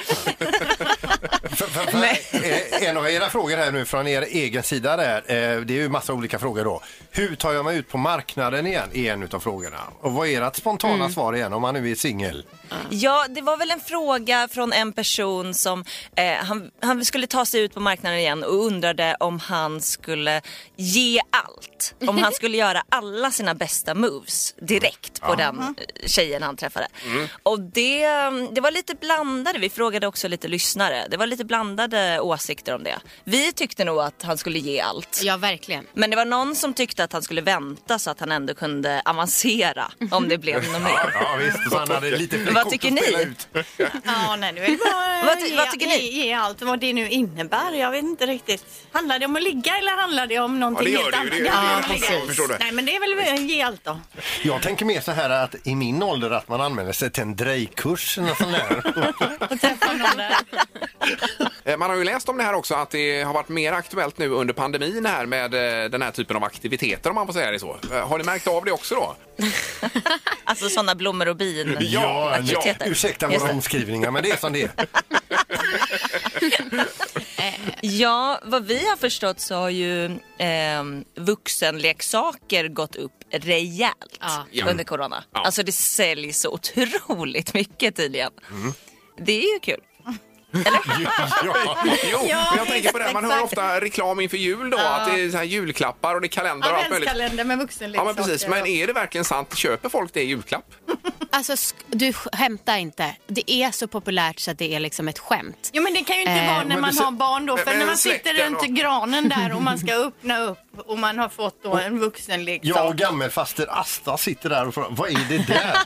[SPEAKER 2] Eh, En av era frågor här nu från er egen sida där, eh, det är ju massa olika frågor då. Hur tar jag mig ut på marknaden igen? är en utav frågorna. Och vad är ert spontana
[SPEAKER 10] Mm.
[SPEAKER 2] svar igen om man nu är singel?
[SPEAKER 10] Ja, det var väl en fråga från en person som eh, han, han skulle ta sig ut på marknaden igen och undrade om han skulle ge allt. Om han skulle göra alla sina bästa moves direkt på
[SPEAKER 3] Ja.
[SPEAKER 10] den
[SPEAKER 3] Mhm.
[SPEAKER 10] eh, tjejen han träffade. Och det, mm, det var lite blandade, vi frågade också lite lyssnare. Det var lite blandade åsikter om det. Vi tyckte nog att han skulle ge allt.
[SPEAKER 9] Ja, verkligen.
[SPEAKER 10] Men det var någon som tyckte att han skulle vänta så att han ändå kunde avancera om det blev något mer.
[SPEAKER 2] Ja, visst, så han hade lite fler
[SPEAKER 10] Vad
[SPEAKER 2] kort
[SPEAKER 10] tycker
[SPEAKER 2] att
[SPEAKER 10] ni?
[SPEAKER 2] spela ut.
[SPEAKER 3] Ja, nej, det är väl bara
[SPEAKER 10] Vad ty-
[SPEAKER 3] ge,
[SPEAKER 10] vad tycker ni?
[SPEAKER 3] Ge, ge allt vad det nu innebär. Jag vet inte riktigt. Handlar det om att ligga eller handlar det om någonting
[SPEAKER 2] Ja, det gör
[SPEAKER 3] helt
[SPEAKER 2] det ju.
[SPEAKER 3] annat?
[SPEAKER 2] Det gör det.
[SPEAKER 3] Ja,
[SPEAKER 2] Jag
[SPEAKER 3] ligga.
[SPEAKER 2] förstår- förstår det.
[SPEAKER 3] Nej, men det är väl ge allt då.
[SPEAKER 2] Jag tänker mer så här att i min ålder att man använder sig till en drejkurs eller något sånt där.
[SPEAKER 1] Eh, Man har ju läst om det här också att det har varit mer aktuellt nu under pandemin här med eh, den här typen av aktiviteter om man får säga det så. Eh, Har ni märkt av det också då?
[SPEAKER 10] Alltså sådana blommor och bin
[SPEAKER 2] Ja, ja.
[SPEAKER 10] aktiviteter.
[SPEAKER 2] Ursäkta
[SPEAKER 10] Just
[SPEAKER 2] våra omskrivningar, men det är som det är.
[SPEAKER 10] det. Ja, vad vi har förstått så har ju eh, vuxenleksaker gått upp rejält
[SPEAKER 3] Ja.
[SPEAKER 10] under corona.
[SPEAKER 3] Ja.
[SPEAKER 10] Alltså det säljs så otroligt mycket tydligen.
[SPEAKER 5] Mm.
[SPEAKER 10] Det är ju kul.
[SPEAKER 1] Ja, jo,
[SPEAKER 10] Ja,
[SPEAKER 1] men jag tänker på det. här. Man hör
[SPEAKER 10] exakt.
[SPEAKER 1] ofta reklam inför jul då,
[SPEAKER 3] Ja.
[SPEAKER 1] att det är så här julklappar och det är kalendrar och allt möjligt.
[SPEAKER 3] Adventskalender med liksom. vuxenleksaker.
[SPEAKER 1] Ja, men precis. Men är det verkligen sant? Köper folk det i julklapp?
[SPEAKER 9] Alltså sk- du sk- skämtar inte. Det är så populärt så att det är liksom ett skämt.
[SPEAKER 3] Jo, men det Eh, kan ju inte
[SPEAKER 9] Eh,
[SPEAKER 3] vara när
[SPEAKER 9] men
[SPEAKER 3] man
[SPEAKER 9] du-
[SPEAKER 3] har barn då. För
[SPEAKER 9] men
[SPEAKER 3] när man
[SPEAKER 9] släkten
[SPEAKER 3] sitter runt
[SPEAKER 9] och-
[SPEAKER 3] granen där och man ska öppna upp och man har fått då en liksom. vuxenleksak.
[SPEAKER 2] Jag och gammelfaster Asta sitter där och frågar, vad är det där?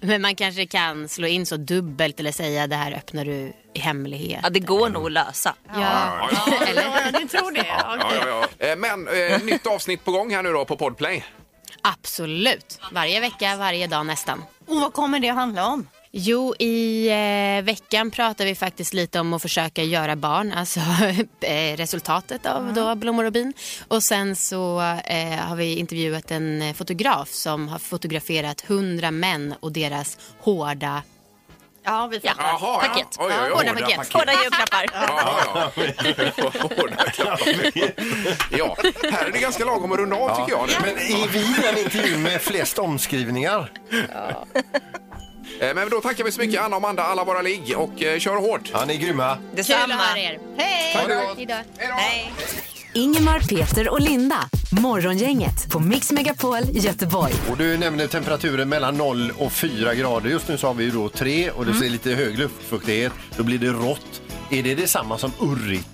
[SPEAKER 9] Men man kanske kan slå in så dubbelt eller säga det här öppnar du i hemlighet.
[SPEAKER 10] Ja, det går nog att lösa.
[SPEAKER 1] Ja, ja,
[SPEAKER 3] Ja, du tror det? Ja,
[SPEAKER 1] ja,
[SPEAKER 3] okej.
[SPEAKER 1] ja, ja. Eh, Men eh, nytt avsnitt på gång här nu då på Podplay.
[SPEAKER 9] Absolut. Varje vecka, varje dag nästan.
[SPEAKER 3] Och vad kommer det att handla om?
[SPEAKER 9] Jo, i eh, veckan pratar vi faktiskt lite om att försöka göra barn, alltså eh, resultatet av då blommor och bin. Och sen så eh, har vi intervjuat en eh, fotograf som har fotograferat hundra män och deras hårda
[SPEAKER 3] Ja, vi fattar.
[SPEAKER 9] Jaha, ja. Paket. Oj, oj, oj. Hårda paket.
[SPEAKER 10] Hårda julklappar.
[SPEAKER 1] Ja, ja, ja. Hårda klappar. Ja, här är det ganska lagom att runda av tycker jag.
[SPEAKER 2] Men är vi den intervjun med flest omskrivningar?
[SPEAKER 1] Eh, Men då tackar vi så mycket Anna och Amanda, alla våra ligg och eh, kör hårt.
[SPEAKER 2] Ja, ni är grymma.
[SPEAKER 9] Kul att höra er.
[SPEAKER 3] Hej!
[SPEAKER 10] Hej!
[SPEAKER 4] Ingemar, Peter och Linda. Morgongänget på Mix Megapol Göteborg.
[SPEAKER 2] Och du nämnde temperaturen mellan 0 och 4 grader. Just nu så har vi ju då 3 och det
[SPEAKER 10] Mm.
[SPEAKER 2] ser lite hög luftfuktighet. Då blir det rått. Är det detsamma som urrigt?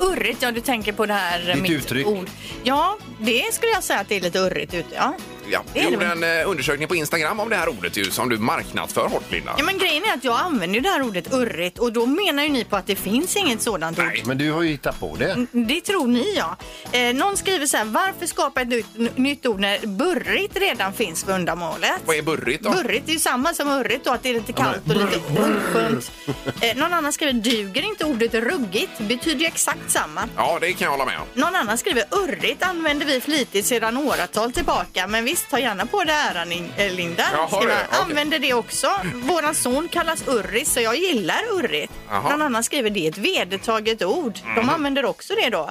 [SPEAKER 3] Urrigt, ja du tänker på det här eh,
[SPEAKER 2] Ditt
[SPEAKER 3] mitt
[SPEAKER 2] uttryck.
[SPEAKER 3] ord. Ja, det skulle jag säga att det är lite urrigt ut. Ja.
[SPEAKER 1] Ja, vi
[SPEAKER 3] Det är det
[SPEAKER 1] gjorde en eh, undersökning på Instagram om det här ordet ju, som du marknadsför hårt Linda.
[SPEAKER 3] ja, men grejen är att jag använder ju det här ordet urrigt och då menar ju ni på att det finns inget sådant ord. Mm,
[SPEAKER 2] Men du har ju hittat på
[SPEAKER 10] Mm.
[SPEAKER 2] det.
[SPEAKER 3] Det tror ni ja. Eh, någon skriver så här, varför skapa ett nytt, n- nytt ord när burrigt redan finns för undanmålet?
[SPEAKER 1] Vad är burrigt då?
[SPEAKER 3] Burrigt är ju samma som urrigt då, att det är lite kallt och lite oskönt. Eh, någon annan skriver, duger inte ordet ruggigt? Betyder ju exakt samma.
[SPEAKER 1] Ja, det kan jag hålla med om.
[SPEAKER 3] Någon annan skriver urrigt använder vi flitigt sedan åratal tillbaka. Men visst, ta gärna på det äran In- eh, Linda.
[SPEAKER 1] Jaha,
[SPEAKER 3] skriver
[SPEAKER 1] det,
[SPEAKER 3] han.
[SPEAKER 1] okej.
[SPEAKER 3] Använder det också. Våran son kallas Urris så jag gillar urrigt.
[SPEAKER 1] Jaha.
[SPEAKER 3] Någon annan skriver det är ett vedertaget ord. De
[SPEAKER 1] Mhm.
[SPEAKER 3] använder också det då.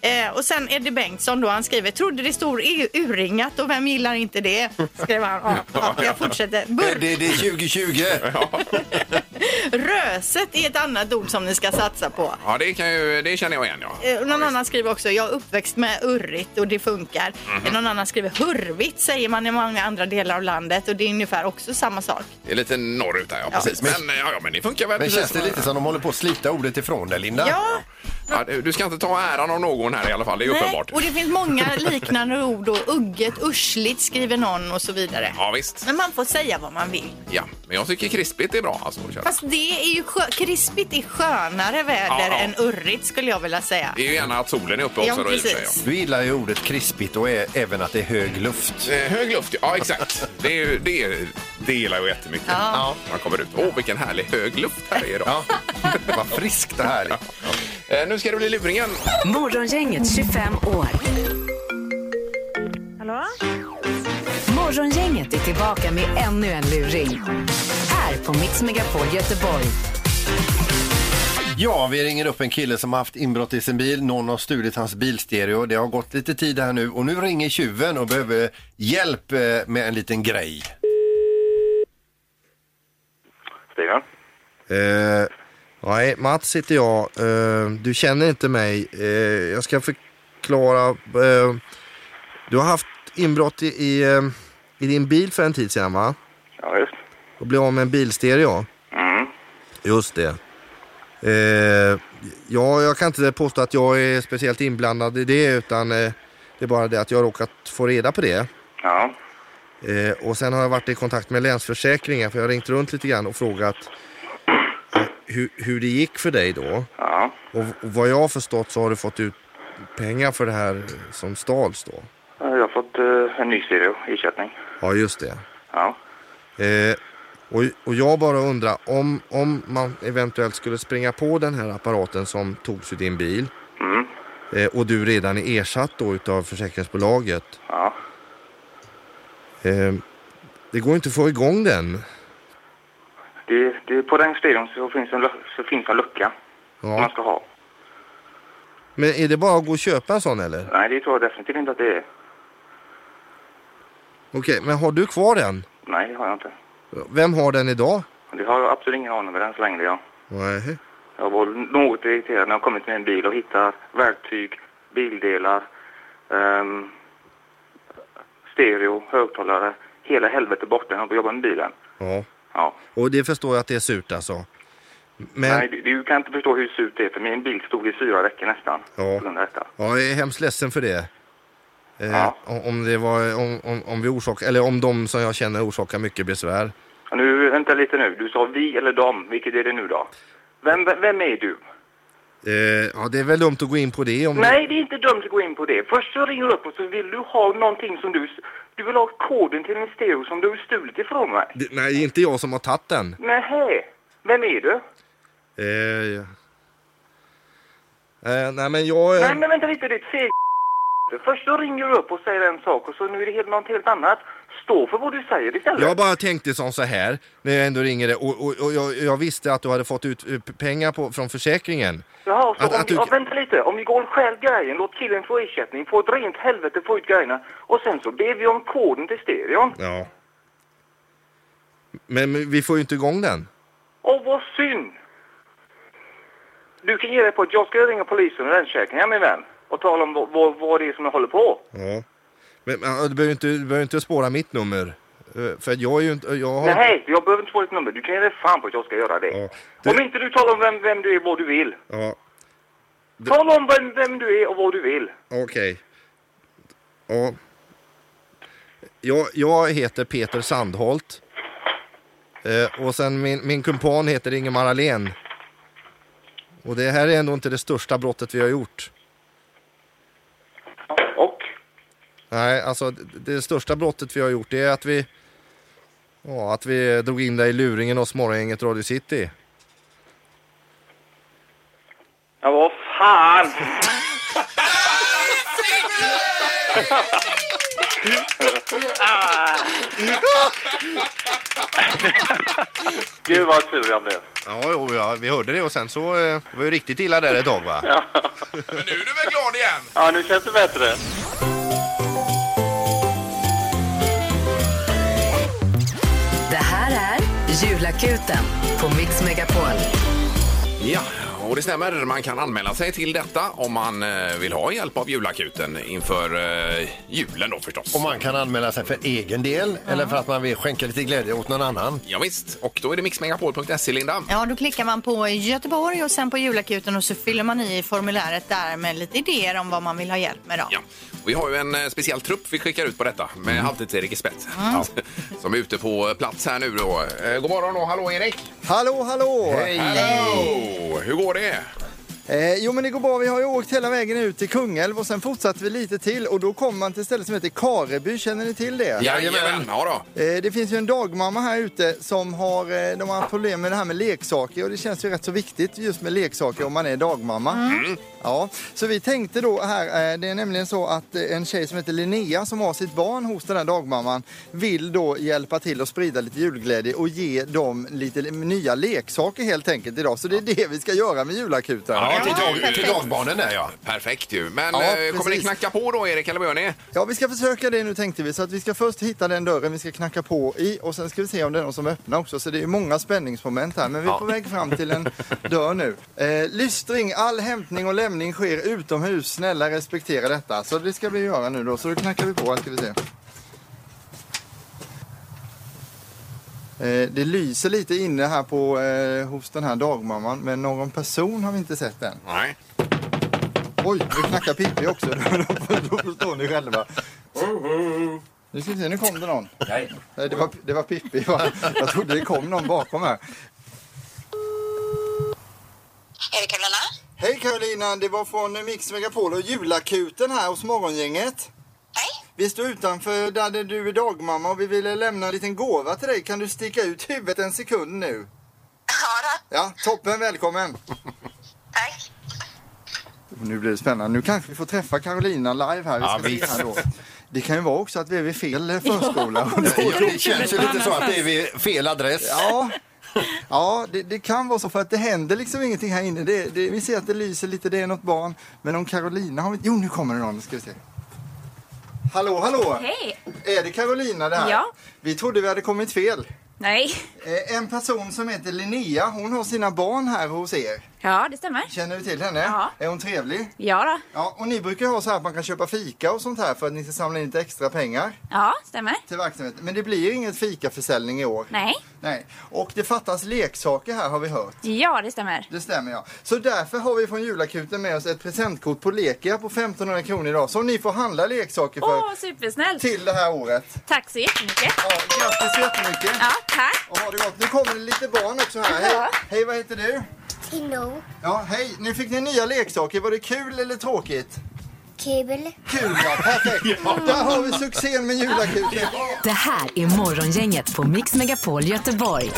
[SPEAKER 3] Eh, och sen Eddie Bengtsson då, han skriver trodde det stod i- urringat och vem gillar inte det? Skrev han. Ja, ja, jag fortsätter. Bur-
[SPEAKER 2] Det, det är 2020.
[SPEAKER 3] Röset är ett annat ord som ni ska satsa på.
[SPEAKER 1] Ja, det, kan ju, det känner jag igen. Ja.
[SPEAKER 3] Eh, Någon annan skriver också, jag är uppväxt med urrigt och det funkar.
[SPEAKER 1] Mhm.
[SPEAKER 3] Någon annan skriver hurvigt säger man i många andra delar av landet och det är ungefär också samma sak.
[SPEAKER 1] Det är lite norrut där, ja. Precis. Men, ja, ja, men det funkar väl.
[SPEAKER 2] Men
[SPEAKER 1] precis.
[SPEAKER 2] känns det lite som de håller på att slita ordet ifrån dig, Linda?
[SPEAKER 3] Ja.
[SPEAKER 1] Ja, du du ska inte ta äran av någon här i alla fall, det är uppenbart.
[SPEAKER 3] Och det finns många liknande ord och ugget, ursligt skriver någon och så vidare.
[SPEAKER 1] Ja, visst.
[SPEAKER 3] Men man får säga vad man vill.
[SPEAKER 1] Ja, men jag tycker krispigt är bra. Alltså, Kjell.
[SPEAKER 3] Fast det är ju skö- krispigt är skönare väder
[SPEAKER 1] Ja, ja.
[SPEAKER 3] än urrigt skulle jag vilja säga.
[SPEAKER 1] det är ju gärna att solen är uppe också.
[SPEAKER 3] Ja,
[SPEAKER 1] då, i och för sig,
[SPEAKER 3] precis.
[SPEAKER 2] Du gillar ju ordet krispigt och ä- även att det är hög luft.
[SPEAKER 1] ja. Eh, Hög luft, ja exakt. Det, är, ju- det, är, det gillar jag jättemycket.
[SPEAKER 3] Ja. Ja.
[SPEAKER 1] Man kommer ut. Åh, vilken härlig hög luft här är idag.
[SPEAKER 2] Vad friskt och härligt.
[SPEAKER 1] Eh, nu ska det bli luringen.
[SPEAKER 4] Morgongänget 25 år.
[SPEAKER 5] Hallå?
[SPEAKER 4] Morgongänget är tillbaka med ännu en luring. Här på Mix Megapol Göteborg.
[SPEAKER 2] Ja, vi ringer upp en kille som har haft inbrott i sin bil. Någon har stulit hans bilstereo. Det har gått lite tid här nu och nu ringer tjuven och behöver hjälp eh, med en liten grej.
[SPEAKER 11] Stigen?
[SPEAKER 12] Eh, nej, Mats heter jag. Eh, du känner inte mig. Eh, jag ska förklara. Eh, du har haft inbrott i, i, eh, i din bil för en tid sedan, va?
[SPEAKER 11] Ja, just.
[SPEAKER 12] Och blev av med en bilstereo.
[SPEAKER 11] Mm.
[SPEAKER 12] Just det. Eh, ja, jag kan inte påstå att jag är speciellt inblandad i det, utan eh, det är bara det att jag har råkat få reda på det.
[SPEAKER 11] Ja.
[SPEAKER 12] Eh, och sen har jag varit i kontakt med Länsförsäkringar för jag har ringt runt lite grann och frågat eh, hur, hur det gick för dig då.
[SPEAKER 11] Ja.
[SPEAKER 12] Och, v- och vad jag har förstått så har du fått ut pengar för det här eh, som stals då.
[SPEAKER 11] Eh, Jag har fått eh, en ny stereo, ersättning.
[SPEAKER 12] Ja, just det.
[SPEAKER 11] Ja.
[SPEAKER 12] Eh, och, och jag bara undrar, om, om man eventuellt skulle springa på den här apparaten som togs ur din bil
[SPEAKER 11] Mm.
[SPEAKER 12] eh, och du redan är ersatt då utav försäkringsbolaget.
[SPEAKER 11] Ja.
[SPEAKER 12] Eh, det går inte att få igång den.
[SPEAKER 11] Det, det, på den stereon så finns en, lu- så finns en lucka som man
[SPEAKER 12] Ja.
[SPEAKER 11] ska ha.
[SPEAKER 12] Men är det bara att gå och köpa en sån eller?
[SPEAKER 11] Nej, det tror jag definitivt inte att det är.
[SPEAKER 12] Okej, men har du kvar den?
[SPEAKER 11] Nej, det har jag inte.
[SPEAKER 12] Vem har den idag?
[SPEAKER 11] Det har jag absolut ingen aning om än så länge. Jag.
[SPEAKER 12] Nej.
[SPEAKER 11] jag var något irriterad när jag kommit med en bil och hittat verktyg, bildelar, ehm, stereo, högtalare. Hela helvetet borta när jag jobbade med bilen.
[SPEAKER 12] Ja.
[SPEAKER 11] Ja.
[SPEAKER 12] Och det förstår jag att det är surt alltså. Men,
[SPEAKER 11] Nej, du, du kan inte förstå hur surt det är för min bil stod i fyra veckor nästan.
[SPEAKER 12] Ja.
[SPEAKER 11] På grund av detta.
[SPEAKER 12] ja, jag är hemskt ledsen för det. Eh, om- Om det var, om, om, om vi orsakar, eller om de som jag känner orsakar mycket besvär.
[SPEAKER 11] Och Nu, vänta lite nu. Du sa vi eller dem. Vilket är det nu då? Vem, vem- vem är du?
[SPEAKER 12] Eh, ja, det är väl dumt att gå in på det om
[SPEAKER 11] Nej, det är inte dumt att gå in på det. Först så ringer du upp och så vill du ha någonting som du... Du vill ha koden till min stereo som du har stulit ifrån mig.
[SPEAKER 12] Det, nej, det är inte jag som har tagit den.
[SPEAKER 11] Nähä. Vem är du?
[SPEAKER 12] Eh, ja. eh, nej, men jag...
[SPEAKER 11] Nej, men vänta lite. Ditt feg... Först så ringer du upp och säger en sak och så nu är det helt, något helt annat. Stå för vad du säger istället.
[SPEAKER 12] Jag bara tänkte som så här, när jag ändå ringer dig, och, och, och jag, jag visste att du hade fått ut eh, p- pengar på, från försäkringen.
[SPEAKER 11] Jaha, så
[SPEAKER 12] Att-
[SPEAKER 11] om,
[SPEAKER 12] att du-
[SPEAKER 11] ja, vänta lite. Om vi går och stjäl grejen, låt killen få ersättning, få ett rent helvete, få ut grejerna och sen så ber vi om koden till stereon.
[SPEAKER 12] Ja. Men, men vi får ju inte igång den.
[SPEAKER 11] Åh, vad synd! Du kan ge dig på att jag ska ringa polisen och rensräkningen, min vän, och tala om vad, vad, vad det är som jag håller på.
[SPEAKER 12] Ja. Men, men ja, du behöver ju inte, du behöver inte spåra mitt nummer. Eh, För att jag är ju inte... Jag har...
[SPEAKER 11] Nej, jag behöver inte få ditt nummer. Du kan ge dig fan på att jag ska göra det. Om inte du talar om vem, vem du är och vad du vill.
[SPEAKER 12] Ja,
[SPEAKER 11] Tala om vem, vem du är och vad du vill.
[SPEAKER 12] okej. Ja. Jag, jag heter Peter Sandholt. Eh, och sen min, min kumpan heter Ingemar Ahlén. Och det här är ändå inte det största brottet vi har gjort.
[SPEAKER 11] Och?
[SPEAKER 12] Nej, alltså det, det största brottet vi har gjort det är att vi... Ja, att vi drog in dig i luringen hos morgongänget Radio City.
[SPEAKER 11] Ja, vad fan! Ah.
[SPEAKER 12] Gud vad tur jag blev. Ja, jo, ja, vi hörde det och sen så eh, det var ju riktigt illa där ett tag va?
[SPEAKER 11] Ja. Ja, nu känns det bättre.
[SPEAKER 4] Det här är Julakuten på Mix Megapol.
[SPEAKER 1] Ja, och det stämmer. Man kan anmäla sig till detta om man eh, vill ha hjälp av julakuten inför eh, julen då förstås.
[SPEAKER 2] Och man kan anmäla sig för egen del eller för att man vill skänka lite glädje åt någon annan.
[SPEAKER 1] Ja, visst. och då är det mixmegapol.se, Linda.
[SPEAKER 3] Ja, då klickar man på Göteborg och sen på julakuten och så fyller man i formuläret där med lite idéer om vad man vill ha hjälp med. Då.
[SPEAKER 1] Ja. Vi har ju en eh, speciell trupp vi skickar ut på detta med
[SPEAKER 2] Mm.
[SPEAKER 1] Halvtids-Erik i spetsen. Som är ute på plats här nu då. Eh, God morgon och hallå Erik!
[SPEAKER 8] Hallå, hallå!
[SPEAKER 1] Hallå! Hur går det?
[SPEAKER 8] Eh, jo men det går bra, vi har ju åkt hela vägen ut till Kungälv och sen fortsatte vi lite till och då kommer man till ett ställe som heter Kareby, känner ni till det?
[SPEAKER 1] Jajamän! Ja, då.
[SPEAKER 8] Eh, Det finns ju en dagmamma här ute som har, eh, de har haft problem med det här med leksaker och det känns ju rätt så viktigt just med leksaker om man är dagmamma. Mm. Ja, så vi tänkte då här, eh, det är nämligen så att eh, en tjej som heter Linnea som har sitt barn hos den här dagmamman vill då hjälpa till och sprida lite julglädje och ge dem lite le- nya leksaker helt enkelt idag. Så det är det vi ska göra med julakuten.
[SPEAKER 1] där ja. Perfekt ju. Men
[SPEAKER 8] Ja,
[SPEAKER 1] eh, kommer ni
[SPEAKER 8] precis.
[SPEAKER 1] knacka på då Erik, eller vad gör ni?
[SPEAKER 8] Ja, vi ska försöka det nu tänkte vi. Så att vi ska först hitta den dörren vi ska knacka på i och sen ska vi se om det är någon som öppnar också. Så det är ju många spänningsmoment här. Men vi är
[SPEAKER 13] Ja.
[SPEAKER 8] på väg fram till en dörr nu. Eh, lystring, all hämtning och lämning sker utomhus. Snälla respektera detta. Så det ska vi göra nu då. Så då knackar vi på här ska vi se. Eh, Det lyser lite inne här på, eh, hos den här dagmamman, men någon person har vi inte sett än.
[SPEAKER 1] Nej.
[SPEAKER 8] Oj, nu knackar Pippi också. Då- Då förstår ni själva. Nu ska vi se, nu kom det någon. Nej. Det var, det var Pippi. Va? Jag trodde det kom någon bakom här. Hej Karolina, det var från eh, Mix Megapol och julakuten här hos Morgongänget. Hej. Vi står utanför där det- du är dagmamma och vi ville lämna en liten gåva till dig. Kan du sticka ut huvudet en sekund nu? Ja, Ja, toppen, välkommen. Nu blir det spännande. Nu kanske vi får träffa Carolina live här. Vi
[SPEAKER 2] Ja,
[SPEAKER 8] ska se
[SPEAKER 2] visst.
[SPEAKER 8] här då. Det kan ju vara också att vi är vid fel eh, förskola. Och då-
[SPEAKER 2] Det känns ju lite så att det är vid fel adress.
[SPEAKER 8] Ja, ja det, det kan vara så för att det händer liksom ingenting här inne. Det, det, vi ser att det lyser lite, det är något barn. Men om Carolina har vi... Jo, nu kommer det någon. Nu Ska vi se. Hallå, hallå!
[SPEAKER 14] Hej!
[SPEAKER 8] Är det Carolina det här?
[SPEAKER 14] Ja.
[SPEAKER 8] Vi trodde vi hade kommit fel.
[SPEAKER 14] Nej.
[SPEAKER 8] Eh, En person som heter Linnea, hon har sina barn här hos er.
[SPEAKER 14] Ja, det stämmer.
[SPEAKER 8] Känner du till henne?
[SPEAKER 14] Ja.
[SPEAKER 8] Är hon trevlig?
[SPEAKER 14] Ja, då.
[SPEAKER 8] Ja, och ni brukar ju ha så här att man kan köpa fika och sånt här för att ni ska samla in lite extra pengar
[SPEAKER 14] Ja, stämmer.
[SPEAKER 8] till verksamheten. Men det blir inget fikaförsäljning i år.
[SPEAKER 14] Nej.
[SPEAKER 8] Nej. Och det fattas leksaker här har vi hört.
[SPEAKER 14] Ja, det stämmer.
[SPEAKER 8] Det stämmer ja. Så därför har vi från julakuten med oss ett presentkort på Lekia på 1500 kronor idag som ni får handla leksaker för
[SPEAKER 14] Åh, supersnällt!
[SPEAKER 8] till det här året.
[SPEAKER 14] Tack så jättemycket!
[SPEAKER 8] Ja, grattis så jättemycket!
[SPEAKER 14] Ja, tack!
[SPEAKER 8] Och ha det gott. Nu kommer det lite barn också här. Hej, hej vad heter du? Tino. Ja, hej. Nu fick ni nya leksaker. Var det kul eller tråkigt?
[SPEAKER 15] Kul.
[SPEAKER 8] Kul ja, perfekt. Där har vi succén med julakuten.
[SPEAKER 4] Det här är Morgongänget på Mix Megapol Göteborg.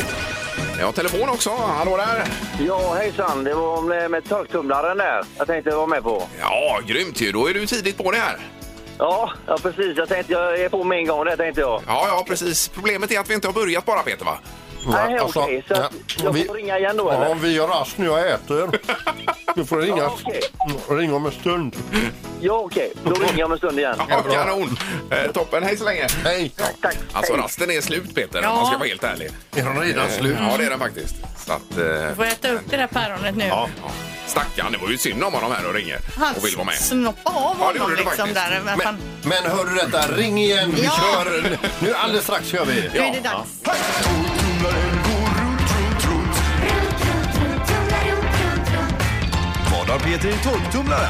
[SPEAKER 1] Jag har telefon också. Hallå där!
[SPEAKER 7] Ja, hejsan. Det var om det med torktumlaren där jag tänkte vara med på.
[SPEAKER 1] Ja, grymt ju. Då är du tidigt på det här.
[SPEAKER 7] Ja, ja precis. Jag tänkte jag är på med en gång där tänkte jag.
[SPEAKER 1] Ja, ja, precis. Problemet är att vi inte har börjat bara, Peter, va?
[SPEAKER 7] Nej, okej. så att jag
[SPEAKER 2] alltså, vi-
[SPEAKER 7] får ringa igen då
[SPEAKER 2] Ja,
[SPEAKER 7] eller?
[SPEAKER 2] vi gör rast nu jag äter. Du får ringa,
[SPEAKER 7] Ja, okej.
[SPEAKER 2] ringa om en stund.
[SPEAKER 7] Ja, okej. Då ringer jag om en stund igen.
[SPEAKER 1] Ja, kanon! Eh, toppen, hej så länge! Hej! Tack! Alltså rasten är slut Peter, om man ska vara helt ärlig.
[SPEAKER 2] Är den redan
[SPEAKER 1] Eh,
[SPEAKER 2] slut?
[SPEAKER 1] Ja, det är den faktiskt. Så att, eh,
[SPEAKER 3] Du får äta upp det där päronet nu.
[SPEAKER 1] ja. ja. Stackarn, det var ju synd om honom här och ringer
[SPEAKER 3] Han
[SPEAKER 1] och vill vara med.
[SPEAKER 3] snoppade av honom
[SPEAKER 1] Ja, det gjorde du
[SPEAKER 3] liksom
[SPEAKER 1] faktiskt.
[SPEAKER 3] där. Men,
[SPEAKER 2] Men, men hör du detta? Ring igen. Vi
[SPEAKER 3] Ja.
[SPEAKER 2] kör. Nu alldeles strax kör vi.
[SPEAKER 3] Nu är det dags.
[SPEAKER 16] Vad har Peter i torktumlaren?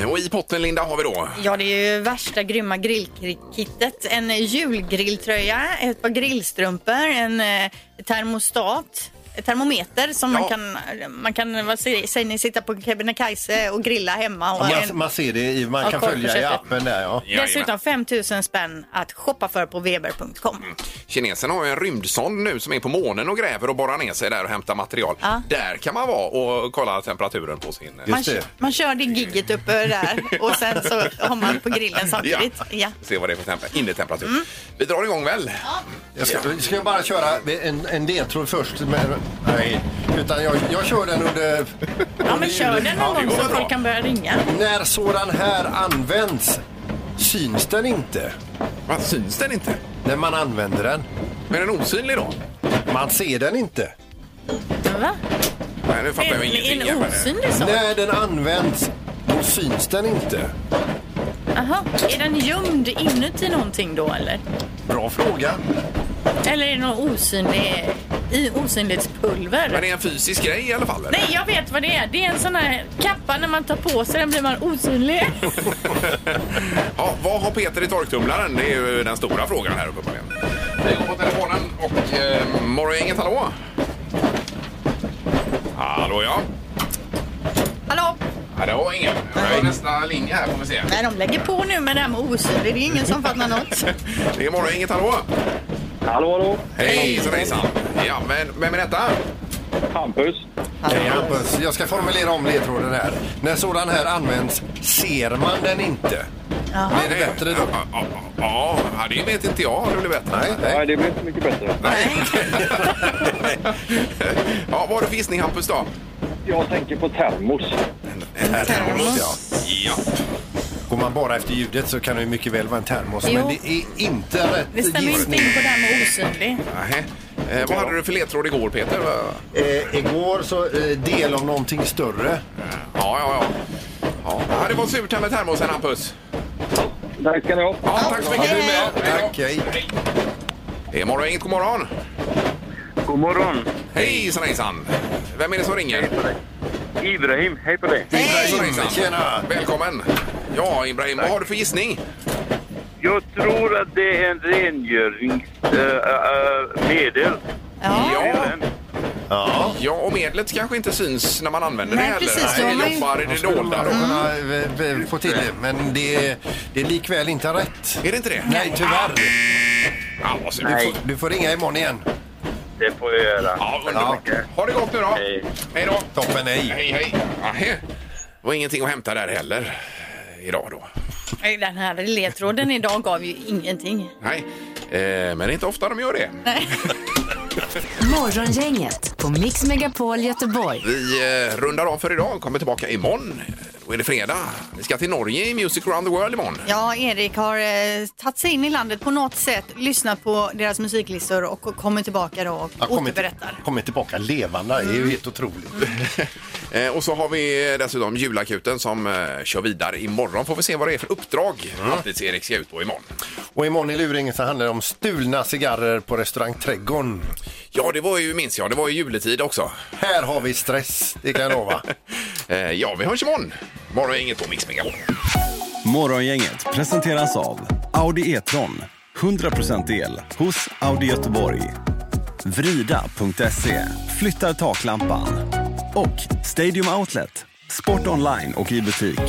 [SPEAKER 1] Eh, Och i potten Linda har vi då
[SPEAKER 3] Ja, det är ju värsta grymma grillkittet. En julgrilltröja, ett par grillstrumpor, en eh, termostat, termometer som man
[SPEAKER 2] Ja.
[SPEAKER 3] kan, man kan vad säger, säger ni, sitta på Kebnekaise och grilla hemma. Och
[SPEAKER 2] Man,
[SPEAKER 3] en,
[SPEAKER 2] man ser det, i- man
[SPEAKER 3] Ja,
[SPEAKER 2] kan
[SPEAKER 3] kolla
[SPEAKER 2] följa i
[SPEAKER 3] försöket.
[SPEAKER 2] appen där ja.
[SPEAKER 3] dessutom 5000 spänn att shoppa för på weber.com.
[SPEAKER 1] Mm, Kineserna har ju en rymdsond nu som är på månen och gräver och borrar ner sig där och hämtar material.
[SPEAKER 3] Ja.
[SPEAKER 1] Där kan man vara och kolla temperaturen på sin... eh,
[SPEAKER 3] Man, kö- man kör det gigget uppe där och sen så har man på grillen samtidigt. Ja.
[SPEAKER 1] Se vad det är för temper- innetemperatur. Vi drar igång väl?
[SPEAKER 2] Jag ska, ska jag bara köra en, en ledtråd först? Med, nej, utan jag, jag kör den under...
[SPEAKER 3] Ja, men kör den någon gång så
[SPEAKER 2] bra.
[SPEAKER 3] folk kan börja ringa.
[SPEAKER 2] När sådan här används syns den inte.
[SPEAKER 1] Va, syns den inte?
[SPEAKER 2] När man använder den.
[SPEAKER 1] Men är den osynlig då?
[SPEAKER 2] Man ser den inte.
[SPEAKER 3] Va?
[SPEAKER 1] Nej, nu fattar jag
[SPEAKER 3] En-
[SPEAKER 1] ingenting.
[SPEAKER 3] en
[SPEAKER 1] Jeppe.
[SPEAKER 3] osynlig sak?
[SPEAKER 2] När den används, då syns den inte.
[SPEAKER 3] Aha. Är den gömd inuti någonting då eller?
[SPEAKER 2] Bra fråga.
[SPEAKER 3] Eller är det någon osynlig, i osynlighetspulver?
[SPEAKER 1] Men det är en fysisk grej i alla fall? eller?
[SPEAKER 3] Nej, jag vet vad det är. Det är en sån här kappa när man tar på sig den blir man osynlig.
[SPEAKER 1] ja, vad har Peter i torktumlaren? Det är ju den stora frågan här uppe på scenen. Vi går på telefonen och eh, morgongänget, hallå? Hallå ja.
[SPEAKER 3] Hallå?
[SPEAKER 1] Ja, det var ingen. Det var nästa linje här får vi se.
[SPEAKER 3] Nej, de lägger på nu med det här med osynlig. Det är ingen som fattar något.
[SPEAKER 1] Det är morgongänget, hallå?
[SPEAKER 7] Hallå, hallå.
[SPEAKER 1] Hej, så hejsan. Ja, men vem är detta?
[SPEAKER 7] Hampus.
[SPEAKER 2] Hej Hampus, jag ska formulera om ledtråden här. När sådan här används ser man den inte. Blir det bättre då?
[SPEAKER 1] Ja, ja, ja, det vet inte jag om det blir bättre. Nej,
[SPEAKER 7] Nej, det blir inte mycket bättre.
[SPEAKER 1] Ja, vad har du för gissning Hampus då?
[SPEAKER 7] Jag tänker på termos.
[SPEAKER 2] Termos, ja.
[SPEAKER 1] Ja.
[SPEAKER 2] Går man bara efter ljudet så kan det ju mycket väl vara en termos.
[SPEAKER 3] Jo.
[SPEAKER 2] Men det är inte
[SPEAKER 3] Det
[SPEAKER 2] rätt
[SPEAKER 3] stämmer ju inte
[SPEAKER 2] gissning.
[SPEAKER 3] in på det här med osynlig.
[SPEAKER 1] Nähä. Eh, vad hade du för ledtråd igår Peter? Va-
[SPEAKER 2] Eh, igår så eh, del av någonting större.
[SPEAKER 1] Ja, ja, ja. ja. det var surt här med termosen Hampus.
[SPEAKER 7] Tack ska ni ha.
[SPEAKER 1] Ja, tack så mycket. Du med.
[SPEAKER 2] Tack, hej.
[SPEAKER 1] Det är morgongänget, god morgon.
[SPEAKER 7] God morgon.
[SPEAKER 1] Hejsan hejsan. Vem är det som ringer?
[SPEAKER 7] Ibrahim, hej på dig.
[SPEAKER 1] Hejsan hejsan.
[SPEAKER 2] Tjena.
[SPEAKER 1] Välkommen. Ja, Ibrahim, vad har du för gissning?
[SPEAKER 7] Jag tror att det är en rengöringsmedel.
[SPEAKER 1] Ja.
[SPEAKER 2] Ja.
[SPEAKER 1] Ja, och medlet kanske inte syns när man använder
[SPEAKER 3] Nej,
[SPEAKER 1] det heller.
[SPEAKER 3] precis, då har man
[SPEAKER 1] det
[SPEAKER 3] ju- Mm.
[SPEAKER 1] jobbar i
[SPEAKER 2] Man
[SPEAKER 1] det
[SPEAKER 2] skulle
[SPEAKER 1] dolda. då.
[SPEAKER 2] kunna, eh, eh, få till det, men det, det är likväl inte rätt.
[SPEAKER 1] Är det inte det? Ah.
[SPEAKER 2] Nej, tyvärr.
[SPEAKER 1] Ja, alltså, vad surt.
[SPEAKER 2] Du får, du får ringa imorgon igen.
[SPEAKER 7] Det får jag göra.
[SPEAKER 1] Ja, underbart. Ha det gott nu då.
[SPEAKER 7] Hej.
[SPEAKER 1] Hej då.
[SPEAKER 2] Toppen, hej.
[SPEAKER 1] Hej, hej. Nähä. Det var ingenting att hämta där heller eh, idag då.
[SPEAKER 3] Nej, Den här ledtråden idag gav ju ingenting.
[SPEAKER 1] Nej, eh, men det är inte ofta de gör det.
[SPEAKER 4] Morgongänget på Mix Megapol Göteborg.
[SPEAKER 1] Vi eh, rundar av för idag och kommer tillbaka imorgon. Eh, Då är det fredag. Vi ska till Norge i Music Around the World imorgon.
[SPEAKER 3] Ja, Erik har eh, tagit sig in i landet på något sätt, lyssnat på deras musiklistor och kommer tillbaka då och
[SPEAKER 2] Jag kommer, till,
[SPEAKER 3] återberättar.
[SPEAKER 2] kommer tillbaka levande. Det är ju helt otroligt.
[SPEAKER 1] Mm. Eh, och så har vi dessutom julakuten som eh, kör vidare imorgon. Får vi se vad det är för uppdrag
[SPEAKER 2] Mm.
[SPEAKER 1] alltid erik ska ut på imorgon.
[SPEAKER 2] Och imorgon i luringen så handlar det om stulna cigarrer på restaurang Trädgården.
[SPEAKER 1] Ja, det var ju, minns jag, det var ju juletid också.
[SPEAKER 2] Här har vi stress, det kan jag lova.
[SPEAKER 1] Eh, ja, vi hörs imorgon. Morgon är inget på Mix Megapol.
[SPEAKER 16] Morgongänget presenteras av Audi E-tron. 100% el hos Audi Göteborg. Vrida.se. Flyttar taklampan. Och Stadium Outlet. Sport online och i butik.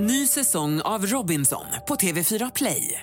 [SPEAKER 17] Ny säsong av Robinson på TV4 Play.